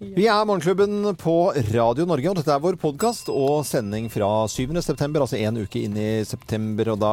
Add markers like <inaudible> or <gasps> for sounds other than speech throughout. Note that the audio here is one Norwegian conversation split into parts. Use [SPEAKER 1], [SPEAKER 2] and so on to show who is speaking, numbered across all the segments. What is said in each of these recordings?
[SPEAKER 1] Vi er Morgenklubben på Radio Norge, og dette er vår podkast og sending fra 7. september, altså en uke inn i september. Og da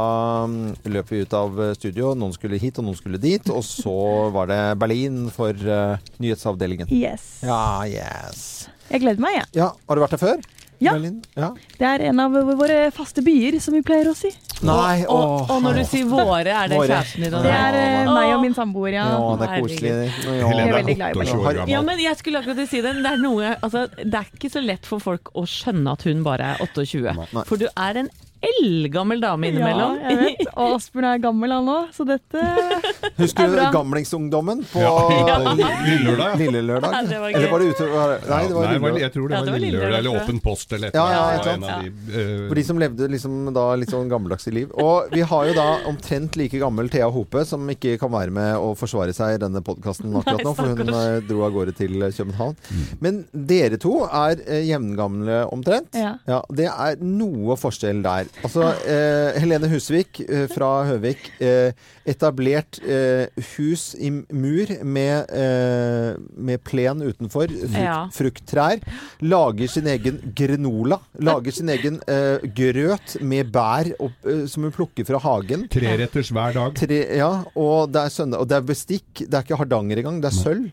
[SPEAKER 1] mm, løp vi ut av studio. Noen skulle hit, og noen skulle dit. Og så var det Berlin for eh, nyhetsavdelingen.
[SPEAKER 2] Yes.
[SPEAKER 1] Ja, yes.
[SPEAKER 2] Jeg gleder meg, jeg.
[SPEAKER 1] Ja, har du vært der før?
[SPEAKER 2] Ja.
[SPEAKER 1] Berlin? ja.
[SPEAKER 2] Det er en av våre faste byer, som vi pleier å si.
[SPEAKER 1] Nei,
[SPEAKER 3] og, og, og når du sier våre, er det
[SPEAKER 1] Våre.
[SPEAKER 3] kjæresten din? og
[SPEAKER 2] Det
[SPEAKER 3] deg?
[SPEAKER 2] er eh,
[SPEAKER 3] Åh.
[SPEAKER 2] meg og min samboer, ja.
[SPEAKER 1] Ja, det er koselig. Ja.
[SPEAKER 2] Jeg
[SPEAKER 4] Helene
[SPEAKER 2] er veldig glad i
[SPEAKER 4] er
[SPEAKER 2] Berlin.
[SPEAKER 4] 28 år gammel.
[SPEAKER 3] Ja, men jeg skulle akkurat si det. men Det er, noe, altså, det er ikke så lett for folk å skjønne at hun bare er 28.
[SPEAKER 1] Nei.
[SPEAKER 3] For du er en eldgammel dame
[SPEAKER 2] Ja,
[SPEAKER 3] innimellom.
[SPEAKER 2] jeg vet. Og Asbjørn er gammel han òg, så dette
[SPEAKER 1] <laughs> Husker
[SPEAKER 2] Det
[SPEAKER 1] du
[SPEAKER 2] er bra.
[SPEAKER 1] gamlingsungdommen på
[SPEAKER 4] <laughs> Ja.
[SPEAKER 1] Lille
[SPEAKER 4] Lillelørdag.
[SPEAKER 1] Lille lørdag?
[SPEAKER 3] Ja, det var gøy.
[SPEAKER 1] Eller var det ute var det- Nei, det var
[SPEAKER 4] Nei,
[SPEAKER 1] Lille
[SPEAKER 4] det var-
[SPEAKER 1] lørdag.
[SPEAKER 4] jeg tror det
[SPEAKER 3] Ja, det
[SPEAKER 4] var
[SPEAKER 3] var
[SPEAKER 4] Lillelørdag
[SPEAKER 3] Lillelørdag,
[SPEAKER 4] eller
[SPEAKER 3] tror jeg.
[SPEAKER 4] Åpen post eller et
[SPEAKER 1] Ja,
[SPEAKER 4] eller
[SPEAKER 1] ja,
[SPEAKER 4] annet.
[SPEAKER 1] et
[SPEAKER 4] Det
[SPEAKER 1] eller
[SPEAKER 4] var en av de, eh,
[SPEAKER 1] For de som levde liksom da litt sånn gammeldagse liv. Og vi har jo da omtrent like gammel Thea Hope, som ikke kan være med å forsvare seg i denne podkasten akkurat nå, for hun eh, dro av gårde til København. Men dere to er eh, jevngamle omtrent.
[SPEAKER 2] Ja.
[SPEAKER 1] Det er noe forskjell der. Altså, eh, Helene Husvik eh, fra Høvik. Eh, etablert eh, hus i mur med, eh, med plen utenfor. Frukt,
[SPEAKER 3] Ja.
[SPEAKER 1] frukttrær. Lager sin egen granola. Lager sin egen eh, grøt med bær opp, eh, som hun plukker fra hagen.
[SPEAKER 4] Treretters hver dag.
[SPEAKER 1] Tre, ja, og det er søndag. Og det er bestikk. Det er ikke Hardanger engang, det er sølv.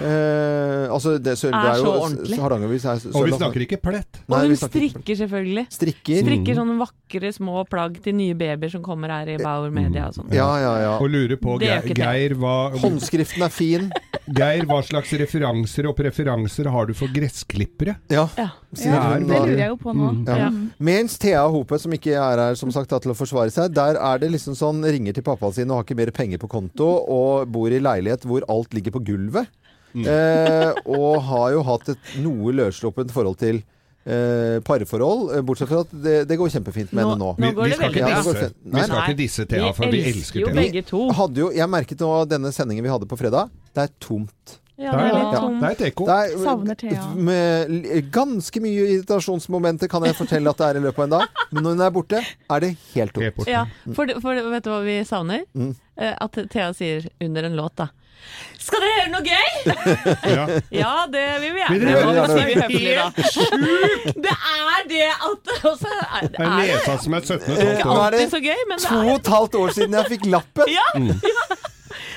[SPEAKER 1] Eh, altså det, sølv,
[SPEAKER 3] Er
[SPEAKER 1] det er jo
[SPEAKER 3] så ordentlig.
[SPEAKER 1] Hardangervis er sølv.
[SPEAKER 4] Og vi
[SPEAKER 1] altså.
[SPEAKER 4] snakker ikke plett.
[SPEAKER 1] Nei,
[SPEAKER 3] <laughs> og
[SPEAKER 1] vi
[SPEAKER 3] hun
[SPEAKER 1] snakker ikke- Mm.
[SPEAKER 3] strikker selvfølgelig.
[SPEAKER 1] Strikker.
[SPEAKER 3] Strikker sånne vakre små plagg til nye babyer som kommer her i Bauer Media og sånn.
[SPEAKER 1] Mm. Ja, ja, ja.
[SPEAKER 4] Og lurer på,
[SPEAKER 3] Det er jo
[SPEAKER 4] Ge-
[SPEAKER 3] ikke det.
[SPEAKER 4] Geir hva,
[SPEAKER 1] Håndskriften er fin.
[SPEAKER 4] Geir, hva slags referanser og preferanser har du for gressklippere?
[SPEAKER 1] Ja.
[SPEAKER 3] Ja.
[SPEAKER 1] sier
[SPEAKER 4] Ja,
[SPEAKER 1] hun
[SPEAKER 4] det
[SPEAKER 2] Det
[SPEAKER 1] da.
[SPEAKER 2] lurer jeg jo på nå.
[SPEAKER 1] Ja.
[SPEAKER 3] Ja.
[SPEAKER 1] Mens Thea Hope, som ikke er her som sagt, da, til å forsvare seg, der er det liksom sånn ringer til pappaen sin og har ikke mer penger på konto, og bor i leilighet hvor alt ligger på gulvet. Eh, og har jo hatt et noe løssluppent forhold til eh, parforhold, eh, bortsett fra at det, det går kjempefint med
[SPEAKER 3] Nå-
[SPEAKER 1] henne nå.
[SPEAKER 4] Vi,
[SPEAKER 3] nå går
[SPEAKER 4] vi
[SPEAKER 3] det
[SPEAKER 4] skal
[SPEAKER 3] veldig
[SPEAKER 1] bra.
[SPEAKER 4] ikke disse,
[SPEAKER 1] Nei,
[SPEAKER 4] vi skal
[SPEAKER 3] nei.
[SPEAKER 4] ikke disse Thea, for vi elsker
[SPEAKER 3] jo
[SPEAKER 4] Thea.
[SPEAKER 3] begge to.
[SPEAKER 1] Hadde jo, jeg merket nå denne sendingen vi hadde på fredag, det er tomt.
[SPEAKER 3] Ja,
[SPEAKER 4] Der,
[SPEAKER 3] det er
[SPEAKER 4] ja.
[SPEAKER 3] litt
[SPEAKER 4] Det
[SPEAKER 3] sånn
[SPEAKER 4] er et ekko.
[SPEAKER 1] Det er,
[SPEAKER 2] Savner Thea.
[SPEAKER 1] Med l- ganske mye irritasjonsmomenter kan jeg fortelle at det er i løpet av en dag, men når hun er borte, er det helt tomt.
[SPEAKER 4] Helt bort.
[SPEAKER 3] Ja,
[SPEAKER 1] Mm.
[SPEAKER 3] for, det- for det- vet du hva vi savner? Eh, At Thea sier under en låt, da. Skal dere høre noe gøy?
[SPEAKER 4] Ja.
[SPEAKER 3] Ja, det vil vi
[SPEAKER 4] Vil dere
[SPEAKER 3] gjerne.
[SPEAKER 1] høre
[SPEAKER 4] <laughs>
[SPEAKER 3] Nå
[SPEAKER 1] noe?
[SPEAKER 3] sier vi høflig, da. Det er det at altså, er,
[SPEAKER 4] Det er
[SPEAKER 3] er
[SPEAKER 4] nesa som er 17
[SPEAKER 1] Eh,
[SPEAKER 4] og
[SPEAKER 1] nå er det
[SPEAKER 3] det Mm. er så gøy, men det
[SPEAKER 1] to
[SPEAKER 3] er
[SPEAKER 1] og et halvt år siden jeg fikk lappen.
[SPEAKER 3] ja, ja.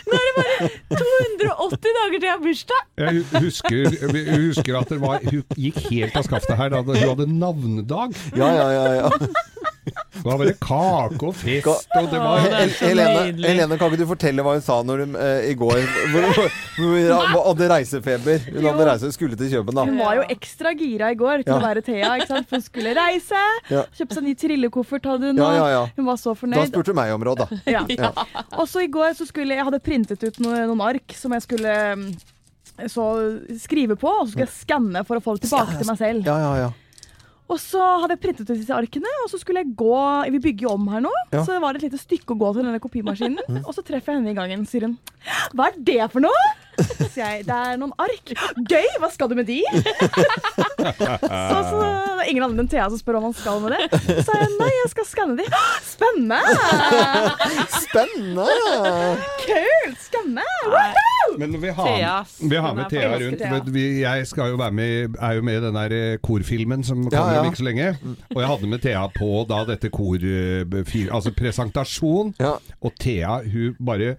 [SPEAKER 3] Nå er det bare 280 dager til jeg har bursdag.
[SPEAKER 4] Jeg husker, jeg husker at det var, hun gikk helt av skaftet her da hun hadde navnedag.
[SPEAKER 1] <laughs> Ja, ja, ja, ja.
[SPEAKER 4] Da var det kake og fest, og det var
[SPEAKER 3] Å, det er så
[SPEAKER 1] Helene,
[SPEAKER 3] nydelig.
[SPEAKER 1] Helene, kan ikke du fortelle hva hun sa når hun, eh, i går hvor, hvor, hvor hun hadde reisefeber? Hun hadde reise, skulle til København.
[SPEAKER 2] Hun var jo ekstra gira i går til
[SPEAKER 1] Ja.
[SPEAKER 2] å være Thea. ikke sant? For Hun skulle reise,
[SPEAKER 1] Ja.
[SPEAKER 2] kjøpe seg ny trillekoffert hadde hun
[SPEAKER 1] Ja,
[SPEAKER 2] nå.
[SPEAKER 1] ja, ja.
[SPEAKER 2] Hun var så
[SPEAKER 1] Da
[SPEAKER 2] fornøyd.
[SPEAKER 1] spurte hun meg om råd, da.
[SPEAKER 2] Ja. Og så i går så skulle jeg hadde printet ut noen, noen ark som jeg skulle mm, så skrive på, og så skulle jeg skanne for å få det tilbake til meg selv.
[SPEAKER 1] Ja, ja, ja.
[SPEAKER 2] Og så hadde jeg printet ut disse arkene, og så skulle jeg gå Vi bygger jo om her nå,
[SPEAKER 1] Ja.
[SPEAKER 2] så det var et lite stykke å gå til denne kopimaskinen. Og så treffer jeg henne i gangen, sier hun. Hva er det for noe? Så sier jeg. Det er noen ark. Gøy! Hva skal du med de? så, så det er ingen andre enn Thea som spør hva man skal med det. Så sa jeg nei, jeg skal skanne de. <gasps> Spennende!
[SPEAKER 1] Spennende!
[SPEAKER 2] Kult! Skanne!
[SPEAKER 4] Men vi
[SPEAKER 3] Thea,
[SPEAKER 4] har,
[SPEAKER 3] ass.
[SPEAKER 4] vi har
[SPEAKER 3] Hun
[SPEAKER 4] med
[SPEAKER 3] er
[SPEAKER 4] Thea
[SPEAKER 2] forelsket,
[SPEAKER 4] rundt.
[SPEAKER 2] Thea.
[SPEAKER 4] men Vi, jeg skal jo være med, er jo med i den der eh, korfilmen som kommer
[SPEAKER 1] ja.
[SPEAKER 4] om ikke så lenge. Og jeg hadde med Thea på da dette kor... eh, fir- Altså presentasjon.
[SPEAKER 1] Ja.
[SPEAKER 4] Og Thea, hun bare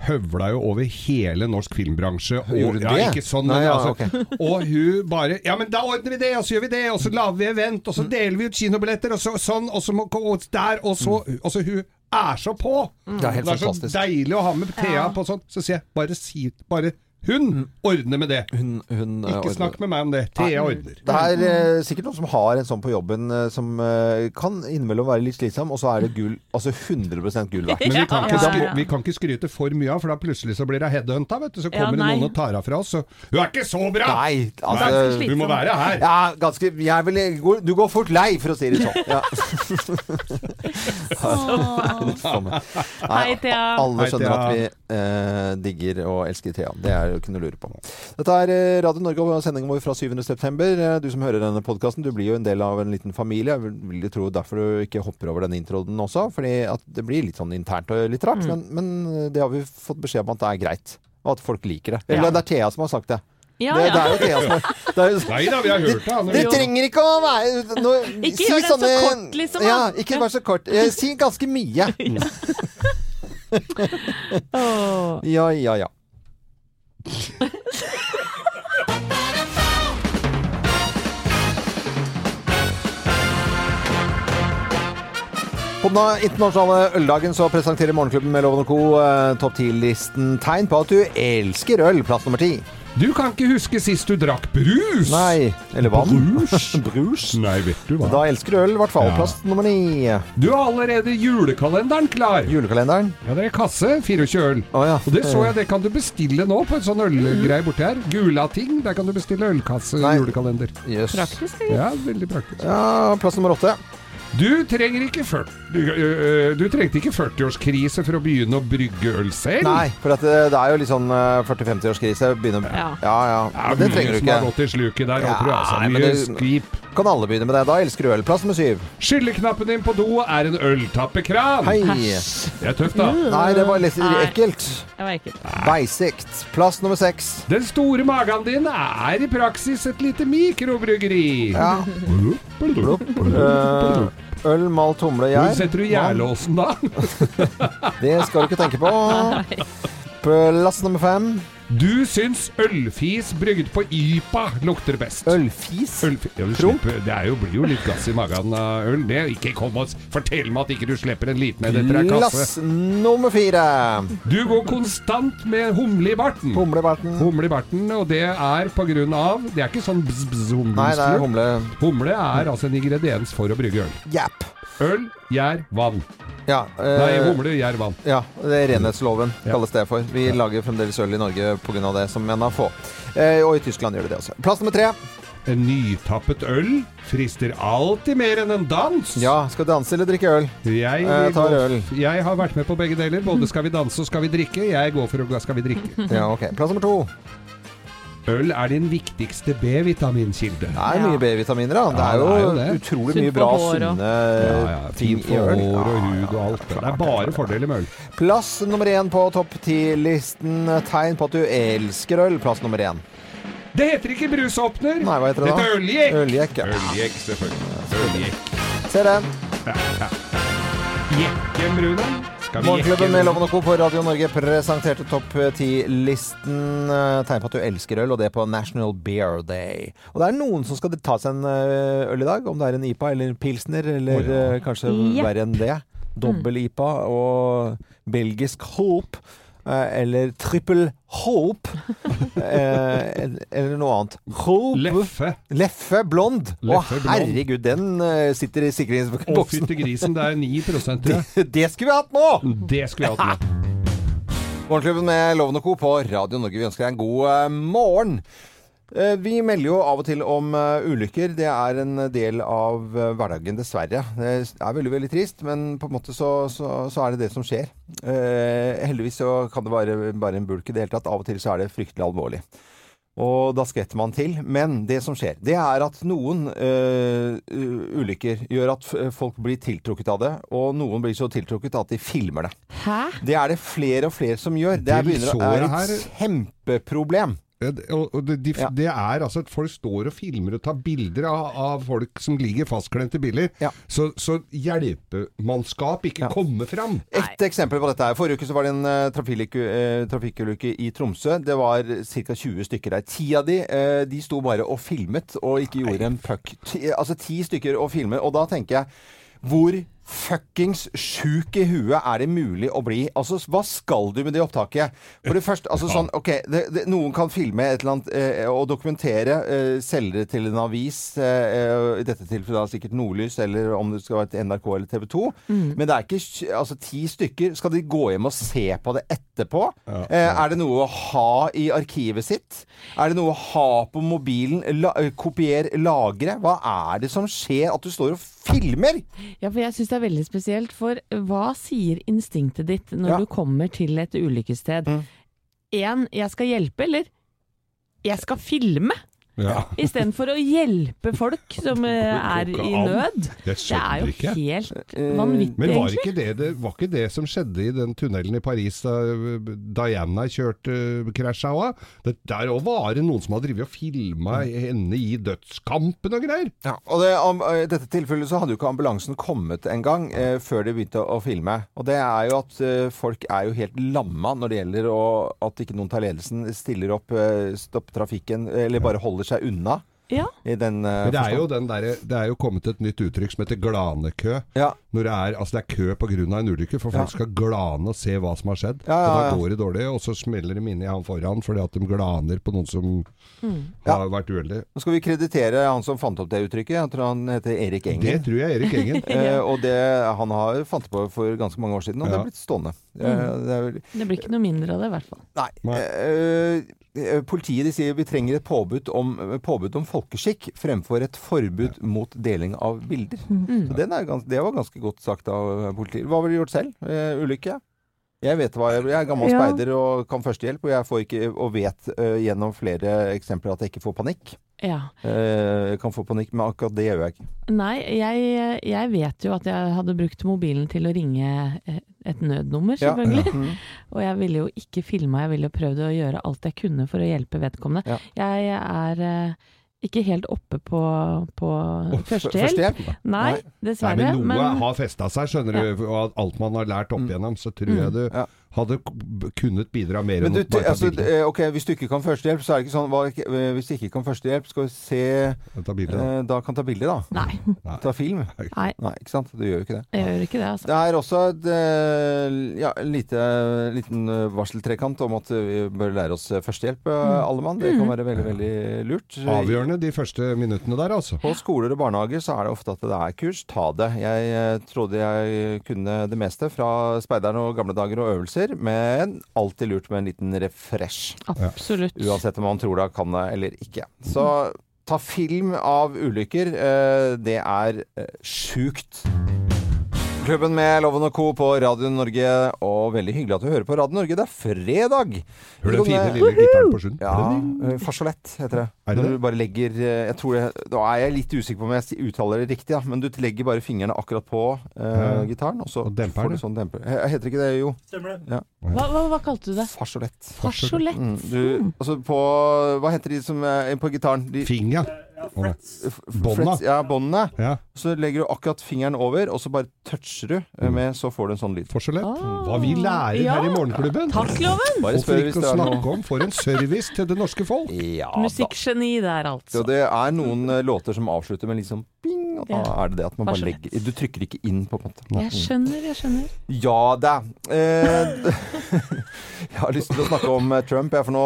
[SPEAKER 4] høvla jo over hele norsk filmbransje. Og,
[SPEAKER 1] Gjorde hun
[SPEAKER 4] ja,
[SPEAKER 1] det?
[SPEAKER 4] ikke sånn,
[SPEAKER 1] Nei,
[SPEAKER 4] men
[SPEAKER 1] ja,
[SPEAKER 4] altså. <laughs> Og hun bare Ja, men da ordner vi det, og så gjør vi det, og så lager vi event, og så deler vi ut kinobilletter, og så sånn, og så må, og der, og så Altså, hun er så på!
[SPEAKER 1] Mm. Det er helt
[SPEAKER 4] det er
[SPEAKER 1] fantastisk.
[SPEAKER 4] så deilig å ha med Thea på sånn. Så sier jeg bare si Bare hun ordner med det!
[SPEAKER 1] Hun, hun, eh, Mm.
[SPEAKER 4] Ikke
[SPEAKER 1] ordner
[SPEAKER 4] snakk med meg om det. Thea ordner.
[SPEAKER 1] Det er eh, sikkert noen som har en sånn på jobben eh, som eh, kan innimellom være litt slitsom, og så er det gull, altså 100 gull verdt.
[SPEAKER 4] Men vi kan,
[SPEAKER 3] Ja,
[SPEAKER 4] ikke
[SPEAKER 3] ja,
[SPEAKER 4] skry,
[SPEAKER 3] ja.
[SPEAKER 4] vi kan ikke skryte for mye av, for da plutselig så blir hun headhunta, vet du. Så
[SPEAKER 3] Ja,
[SPEAKER 4] kommer det
[SPEAKER 3] nei.
[SPEAKER 4] noen og tar henne fra oss, så Hun er ikke så bra!
[SPEAKER 1] Nei,
[SPEAKER 4] Nei,
[SPEAKER 1] altså
[SPEAKER 4] Du må være her!
[SPEAKER 1] ja, ganske, jeg vil, Du går fort lei, for å si det sånn. Ja.
[SPEAKER 3] <laughs> Hei, Thea.
[SPEAKER 1] Alle
[SPEAKER 4] Hei,
[SPEAKER 1] skjønner
[SPEAKER 4] Thea.
[SPEAKER 1] at vi eh, digger og elsker Thea. Det er jo ikke noe å lure på. Dette er eh, Radio Norge og sendingen vår fra 7. september. Eh, Du som hører denne podkasten, du blir jo en del av en liten familie. Jeg vil- vil jo tro derfor du ikke hopper over denne introen også, fordi at det blir litt sånn internt og litt
[SPEAKER 3] Mm.
[SPEAKER 1] rart. Men, men det har vi fått beskjed om at det er greit, og at folk liker det. Eller det er Thea som har sagt det.
[SPEAKER 3] Ja,
[SPEAKER 1] det,
[SPEAKER 3] ja.
[SPEAKER 1] det er jo Thea som har det er jo
[SPEAKER 4] Nei da, vi har hørt det. han.
[SPEAKER 1] Det trenger ikke å være nå,
[SPEAKER 3] Ikke gjør det så kort, liksom, da.
[SPEAKER 1] Ja, ikke vær så kort. Eh, si ganske mye.
[SPEAKER 3] <laughs> Åh.
[SPEAKER 1] Ja, ja, ja. På den internasjonale øldagen så presenterer Morgenklubben med Loven og Co. eh, topp 10-listen tegn på at du elsker øl. Plass nummer ti.
[SPEAKER 4] Du kan ikke huske sist du drakk brus?
[SPEAKER 1] Nei, eller vann.
[SPEAKER 4] Brus?
[SPEAKER 1] <laughs> Brus.
[SPEAKER 4] Nei, vet du hva.
[SPEAKER 1] Da elsker du øl, i hvert fall.
[SPEAKER 4] Ja.
[SPEAKER 1] Plass nummer ni.
[SPEAKER 4] Du har allerede julekalenderen klar.
[SPEAKER 1] Julekalenderen.
[SPEAKER 4] Ja, det er kasse, 24 øl.
[SPEAKER 1] Å ja.
[SPEAKER 4] Og det så jeg, det kan du bestille nå på en sånn ølgreie borti her. Gula ting, der kan du bestille ølkasse,
[SPEAKER 1] Nei.
[SPEAKER 4] julekalender.
[SPEAKER 1] Jøss.
[SPEAKER 3] Praktisk.
[SPEAKER 4] Ja, veldig praktisk.
[SPEAKER 1] Ja, plass nummer åtte.
[SPEAKER 4] Du trenger ikke 40 du, øh, du trengte ikke 40-årskrise for å begynne å brygge øl selv.
[SPEAKER 1] Nei, for at det, det er jo litt sånn eh, 40-50-årskrise. Begynner
[SPEAKER 3] Ja.
[SPEAKER 1] Ja, ja.
[SPEAKER 4] Ja,
[SPEAKER 1] Men det trenger du
[SPEAKER 4] Mye som har
[SPEAKER 1] ikke.
[SPEAKER 4] gått i sluket der.
[SPEAKER 1] Ja,
[SPEAKER 4] Ja, tror jeg, altså.
[SPEAKER 1] nei, men
[SPEAKER 4] Mye
[SPEAKER 1] det-
[SPEAKER 4] skvip.
[SPEAKER 1] Kan alle begynne med det? Da elsker du øl. Plass nummer syv.
[SPEAKER 4] Skylleknappen din på do er en øltappekran.
[SPEAKER 1] Hei.
[SPEAKER 4] Det er tøft, da.
[SPEAKER 1] Nei, det var litt
[SPEAKER 3] Nei.
[SPEAKER 1] ekkelt.
[SPEAKER 3] Det var ekkelt.
[SPEAKER 1] Beisikt. Plass nummer seks.
[SPEAKER 4] Den store magen din er i praksis et lite mikrobryggeri.
[SPEAKER 1] Ja. Eh, øl, malt, humle,
[SPEAKER 4] Hvor
[SPEAKER 1] gjær.
[SPEAKER 4] setter du jærlåsen da?
[SPEAKER 1] Det skal du ikke tenke på. Plass nummer fem.
[SPEAKER 4] Du syns ølfis brygget på IPA lukter best.
[SPEAKER 1] Ølfis.
[SPEAKER 4] Ølfi- Ja, du
[SPEAKER 1] Promp.
[SPEAKER 4] slipper, det er jo, blir jo litt gass i magen av øl. Det, ikke kom og s- fortell meg at ikke du slipper en liten en etter ei kasse.
[SPEAKER 1] Plass nummer fire.
[SPEAKER 4] Du går konstant med humle i barten.
[SPEAKER 1] Humlebarten.
[SPEAKER 4] Humle i barten, og det er på grunn av Det er ikke sånn
[SPEAKER 1] Nei, det er
[SPEAKER 4] bzz-bzz-humle.
[SPEAKER 1] humle...
[SPEAKER 4] Humle er altså en ingrediens for å brygge øl.
[SPEAKER 1] Japp.
[SPEAKER 4] Øl, gjær, vann.
[SPEAKER 1] Ja, eh,
[SPEAKER 4] Nei, humle, gjær, vann.
[SPEAKER 1] Ja, det er renhetsloven
[SPEAKER 4] Ja.
[SPEAKER 1] kalles det for. Vi lager fremdeles øl i Norge pga. det som menn har få. Eh, og i Tyskland gjør de det også. Plass nummer tre.
[SPEAKER 4] En nytappet øl frister alltid mer enn en dans.
[SPEAKER 1] Ja, skal du danse eller drikke øl?
[SPEAKER 4] Jeg,
[SPEAKER 1] Jeg tar øl.
[SPEAKER 4] jeg har vært med på begge deler. Både skal vi danse og skal vi drikke. Jeg går for å skal vi
[SPEAKER 1] <laughs>
[SPEAKER 4] drikke.
[SPEAKER 1] Ja, ok. Plass nummer to.
[SPEAKER 4] Øl er din viktigste B-vitaminkilde.
[SPEAKER 1] Det er
[SPEAKER 3] Ja.
[SPEAKER 1] mye B-vitaminer, da. Det
[SPEAKER 4] Ja,
[SPEAKER 1] er jo,
[SPEAKER 4] det er jo det.
[SPEAKER 1] utrolig
[SPEAKER 3] Sunt
[SPEAKER 1] mye
[SPEAKER 3] for
[SPEAKER 1] bra,
[SPEAKER 3] hår og-
[SPEAKER 1] sunne
[SPEAKER 4] Ja, ja.
[SPEAKER 1] eh, ting
[SPEAKER 4] Fint
[SPEAKER 1] i
[SPEAKER 4] for
[SPEAKER 1] øl.
[SPEAKER 4] hår og
[SPEAKER 1] Ja,
[SPEAKER 4] hud og alt. Det er bare fordeler med øl.
[SPEAKER 1] Plass nummer én på topp ti-listen. Tegn på at du elsker øl. Plass nummer én.
[SPEAKER 4] Det heter ikke brusåpner.
[SPEAKER 1] Nei, hva heter det da?
[SPEAKER 4] Dette er øljekk.
[SPEAKER 1] Øljekk, ja.
[SPEAKER 4] Øljekk, selvfølgelig. Øljekk.
[SPEAKER 1] Se det.
[SPEAKER 4] Jekken, Rune. Skal vi
[SPEAKER 1] Morgenklubben
[SPEAKER 4] jekke
[SPEAKER 1] med
[SPEAKER 4] den?
[SPEAKER 1] Loven og Co. på Radio Norge presenterte topp 10-listen. eh, Tegn på at du elsker øl, og det er på National Beer Day. Og det er noen som skal ta seg en eh, øl i dag, om det er en IPA eller en pilsner, eller
[SPEAKER 4] Å, ja.
[SPEAKER 1] eh, kanskje
[SPEAKER 2] Jepp.
[SPEAKER 1] verre enn det. Dobbel-IPA og belgisk hope. eh, Eller trippel hope. eh, Eller noe annet. Hope.
[SPEAKER 4] Leffe.
[SPEAKER 1] Leffe blond. Å,
[SPEAKER 4] Leffe blond.
[SPEAKER 1] herregud, den eh, sitter i
[SPEAKER 4] Å,
[SPEAKER 1] sikringsboksen.
[SPEAKER 4] fytti grisen, det er 9 tror jeg.
[SPEAKER 1] <laughs> Det skulle vi hatt nå!
[SPEAKER 4] Det skulle jeg hatt med.
[SPEAKER 1] Morgenklubben med Loven og Co. på Radio Norge. Vi ønsker deg en god eh, morgen. Eh, Vi melder jo av og til om eh, ulykker. Det er en del av eh, hverdagen, dessverre. Det er veldig veldig trist, men på en måte så, så, så er det det som skjer. Eh, heldigvis så kan det være bare en bulk i det hele tatt. Av og til så er det fryktelig alvorlig. Og da skvetter man til. Men det som skjer, det er at noen eh, u- ulykker gjør at f- folk blir tiltrukket av det, og noen blir så tiltrukket at de filmer det.
[SPEAKER 3] Hæ?
[SPEAKER 1] Det er det flere og flere som gjør. Det
[SPEAKER 4] Det
[SPEAKER 1] er, begynner, å-
[SPEAKER 4] så
[SPEAKER 1] er
[SPEAKER 4] jeg
[SPEAKER 1] et kjempeproblem.
[SPEAKER 4] Ja, det- Og, og det, de,
[SPEAKER 1] Ja.
[SPEAKER 4] det er altså at folk står og filmer og tar bilder av, av folk som ligger fastklemt i biler.
[SPEAKER 1] Ja.
[SPEAKER 4] Så, så hjelpemannskap ikke kommer fram.
[SPEAKER 1] Et eksempel på dette her. Forrige uke så var det en eh, trafikkulykke eh, trafikkulykke i Tromsø. Det var ca. 20 stykker der. Ti av de, eh, de sto bare og filmet og ikke gjorde en fuck. Ti, altså ti stykker og filmer. Og da tenker jeg hvor fuckings sjuk i huet er det mulig å bli? Altså, hva skal du med det opptaket? For det første, altså sånn, ok, det, det, noen kan filme et eller annet eh, og dokumentere, eh, selge det til en avis, eh, eh, i dette tilfellet da sikkert Nordlys, eller om det skal være til NRK eller TV 2, men det er ikke, tj- altså ti stykker, skal de gå hjem og se på det etterpå? Eh, er det noe å ha i arkivet sitt? Er det noe å ha på mobilen? La, eh, kopier, lagre? Hva er det som skjer at du står og filmer?
[SPEAKER 3] Ja, for jeg syns det er veldig spesielt, for hva sier instinktet ditt når
[SPEAKER 1] Ja.
[SPEAKER 3] du kommer til et
[SPEAKER 4] Mm.
[SPEAKER 3] ulykkessted? Én, jeg skal hjelpe, eller? Jeg skal filme!
[SPEAKER 4] Ja.
[SPEAKER 3] Istedenfor å hjelpe folk som eh, er
[SPEAKER 4] ikke
[SPEAKER 3] i
[SPEAKER 4] an.
[SPEAKER 3] nød.
[SPEAKER 4] Jeg
[SPEAKER 3] Det er
[SPEAKER 4] skjønner
[SPEAKER 3] jo
[SPEAKER 4] ikke. Eh,
[SPEAKER 3] helt vanvittig,
[SPEAKER 4] Men var
[SPEAKER 3] egentlig.
[SPEAKER 4] ikke, det, det, var ikke det som skjedde i den tunnelen i Paris da øh, Diana kjørte øh, krasja òg? Der òg var det noen som hadde drevet og filma henne i dødskampen og greier.
[SPEAKER 1] Ja, og det, om, I dette tilfellet så hadde jo ikke ambulansen kommet engang eh, før de begynte å, å filme. Og det er jo at eh, folk er jo helt lamma når det gjelder å, at ikke noen tar ledelsen, stiller opp, eh, stopper trafikken, eller bare holder seg unna.
[SPEAKER 3] Ja.
[SPEAKER 1] I den, eh,
[SPEAKER 4] Men det er jo,
[SPEAKER 1] forstand.
[SPEAKER 4] den derre- det er jo kommet et nytt uttrykk som heter glanekø.
[SPEAKER 1] Ja.
[SPEAKER 4] Når det er, altså det er kø pga. en ulykke, for folk skal glane og se hva som har skjedd.
[SPEAKER 1] Ja, ja, ja.
[SPEAKER 4] Og da går det dårlig, og så smeller de inn i han foran fordi at de glaner på noen som
[SPEAKER 3] Mm.
[SPEAKER 4] har vært uheldig.
[SPEAKER 1] Nå skal vi kreditere han som fant opp det uttrykket. Jeg tror han heter Erik
[SPEAKER 4] Det
[SPEAKER 1] Engen.
[SPEAKER 4] tror jeg Erik
[SPEAKER 1] <laughs>
[SPEAKER 4] Engen.
[SPEAKER 1] Eh, og det han har fant på for ganske mange år siden, og det
[SPEAKER 4] Ja. Mm.
[SPEAKER 1] er blitt stående. Eh, det er, vel-
[SPEAKER 3] Det blir ikke noe mindre av det, i hvert fall.
[SPEAKER 1] Nei.
[SPEAKER 4] Nei.
[SPEAKER 1] Eh, eh, politiet de sier vi trenger et påbud om, eh, påbud om folkeskikk fremfor et forbud mot deling av bilder. Så den er gans, det var ganske godt sagt av eh, politiet. Hva ville du gjort selv? Eh, ulykke? Jeg vet hva jeg, jeg er gammel
[SPEAKER 2] Ja.
[SPEAKER 1] speider og kan førstehjelp, og jeg får ikke, og vet eh, gjennom flere eksempler at jeg ikke får panikk.
[SPEAKER 3] Ja.
[SPEAKER 1] Eh, jeg kan få panikk, men akkurat det gjør jeg ikke.
[SPEAKER 3] Nei, jeg, jeg vet jo at jeg hadde brukt mobilen til å ringe eh, et nødnummer,
[SPEAKER 1] Ja.
[SPEAKER 3] selvfølgelig.
[SPEAKER 1] Mm.
[SPEAKER 3] Og jeg ville jo ikke filma, jeg ville jo prøvd å gjøre alt jeg kunne for å hjelpe vedkommende. Jeg er eh, ikke helt oppe på, på <laughs> førstehjelp.
[SPEAKER 1] Førstehjelp?
[SPEAKER 3] Nei,
[SPEAKER 1] Nei.
[SPEAKER 4] Nei,
[SPEAKER 3] dessverre.
[SPEAKER 4] men noe
[SPEAKER 3] men-
[SPEAKER 4] har festa seg, skjønner du. Og at alt man har lært opp igjennom, så tror jeg du
[SPEAKER 1] Mm. Ja.
[SPEAKER 4] hadde k- kunnet bidra mer
[SPEAKER 1] Men
[SPEAKER 4] enn
[SPEAKER 1] du,
[SPEAKER 4] å bare ta
[SPEAKER 1] altså,
[SPEAKER 4] bilder.
[SPEAKER 1] eh, ok, Hvis du ikke kan førstehjelp, så er det ikke sånn hva, eh, Hvis du ikke kan førstehjelp, skal vi se
[SPEAKER 4] Ta bilder, da.
[SPEAKER 1] eh, Da kan ta bilde, da.
[SPEAKER 3] Nei,
[SPEAKER 1] Ta film?
[SPEAKER 3] nei,
[SPEAKER 1] Nei, ikke sant? Du gjør jo ikke det.
[SPEAKER 3] jeg gjør ikke det, altså.
[SPEAKER 1] Det er også et eh, ja, lite, liten eh, varseltrekant om at vi bør lære oss førstehjelp, eh, alle mann. Det kan være veldig, veldig lurt.
[SPEAKER 4] Avgjørende de første minuttene der, altså.
[SPEAKER 1] På skoler og barnehager så er det ofte at det er kurs. Ta det. Jeg eh, trodde jeg kunne det meste fra speideren og gamle dager og øvelser, men alltid lurt med en liten refresh.
[SPEAKER 3] Absolutt.
[SPEAKER 1] Uansett om man tror det kan det eller ikke. Så ta film av ulykker. eh, Det er eh, sjukt. Klubben med Loven og Co. på Radio Norge, og veldig hyggelig at du hører på Radio Norge. Det er fredag!
[SPEAKER 4] Hør den fine
[SPEAKER 1] Kan, eh,
[SPEAKER 4] lille gitaren på slunden.
[SPEAKER 1] ja, eh, Farsolett heter det.
[SPEAKER 4] Er det
[SPEAKER 1] Når
[SPEAKER 4] det?
[SPEAKER 1] du bare legger eh, jeg tror jeg, Da er jeg litt usikker på om jeg si- uttaler det riktig, ja, men du legger bare fingrene akkurat på eh,
[SPEAKER 4] Ja.
[SPEAKER 1] gitaren, og så
[SPEAKER 4] Og demper
[SPEAKER 1] får
[SPEAKER 4] det.
[SPEAKER 1] du sånn demper. Eh, Heter ikke det, jo?
[SPEAKER 3] Hva, hva, hva kalte du det?
[SPEAKER 1] Farsolett.
[SPEAKER 3] Farsolett?
[SPEAKER 1] Mm, du, altså på Hva heter de som er på gitaren? De,
[SPEAKER 4] Finga.
[SPEAKER 1] F- f-
[SPEAKER 4] Bånda.
[SPEAKER 1] frets- Ja, båndene.
[SPEAKER 4] Ja.
[SPEAKER 1] Så legger du akkurat fingeren over, og så bare toucher du
[SPEAKER 4] Mm.
[SPEAKER 1] eh, med, så får du en sånn lyd.
[SPEAKER 4] Forskjellig.
[SPEAKER 3] Ah.
[SPEAKER 4] Hva vi lærer
[SPEAKER 3] Ja.
[SPEAKER 4] her i Morgenklubben.
[SPEAKER 3] Takk, Loven!
[SPEAKER 1] Bare
[SPEAKER 4] Hvorfor
[SPEAKER 1] spør hvis det
[SPEAKER 4] ikke å
[SPEAKER 1] er
[SPEAKER 4] snakke
[SPEAKER 1] noe.
[SPEAKER 4] om for en service til det norske folk?
[SPEAKER 1] Ja da.
[SPEAKER 3] Musikkgeni der, altså.
[SPEAKER 1] Så det er noen eh, låter som avslutter med liksom bing, og da
[SPEAKER 3] Ja.
[SPEAKER 1] er det det at man bare
[SPEAKER 3] Varsomt.
[SPEAKER 1] legger Du trykker ikke inn, på en måte.
[SPEAKER 3] Jeg skjønner, jeg skjønner.
[SPEAKER 1] Ja da. Eh, <laughs> jeg har lyst til å snakke om eh, Trump, ja, for nå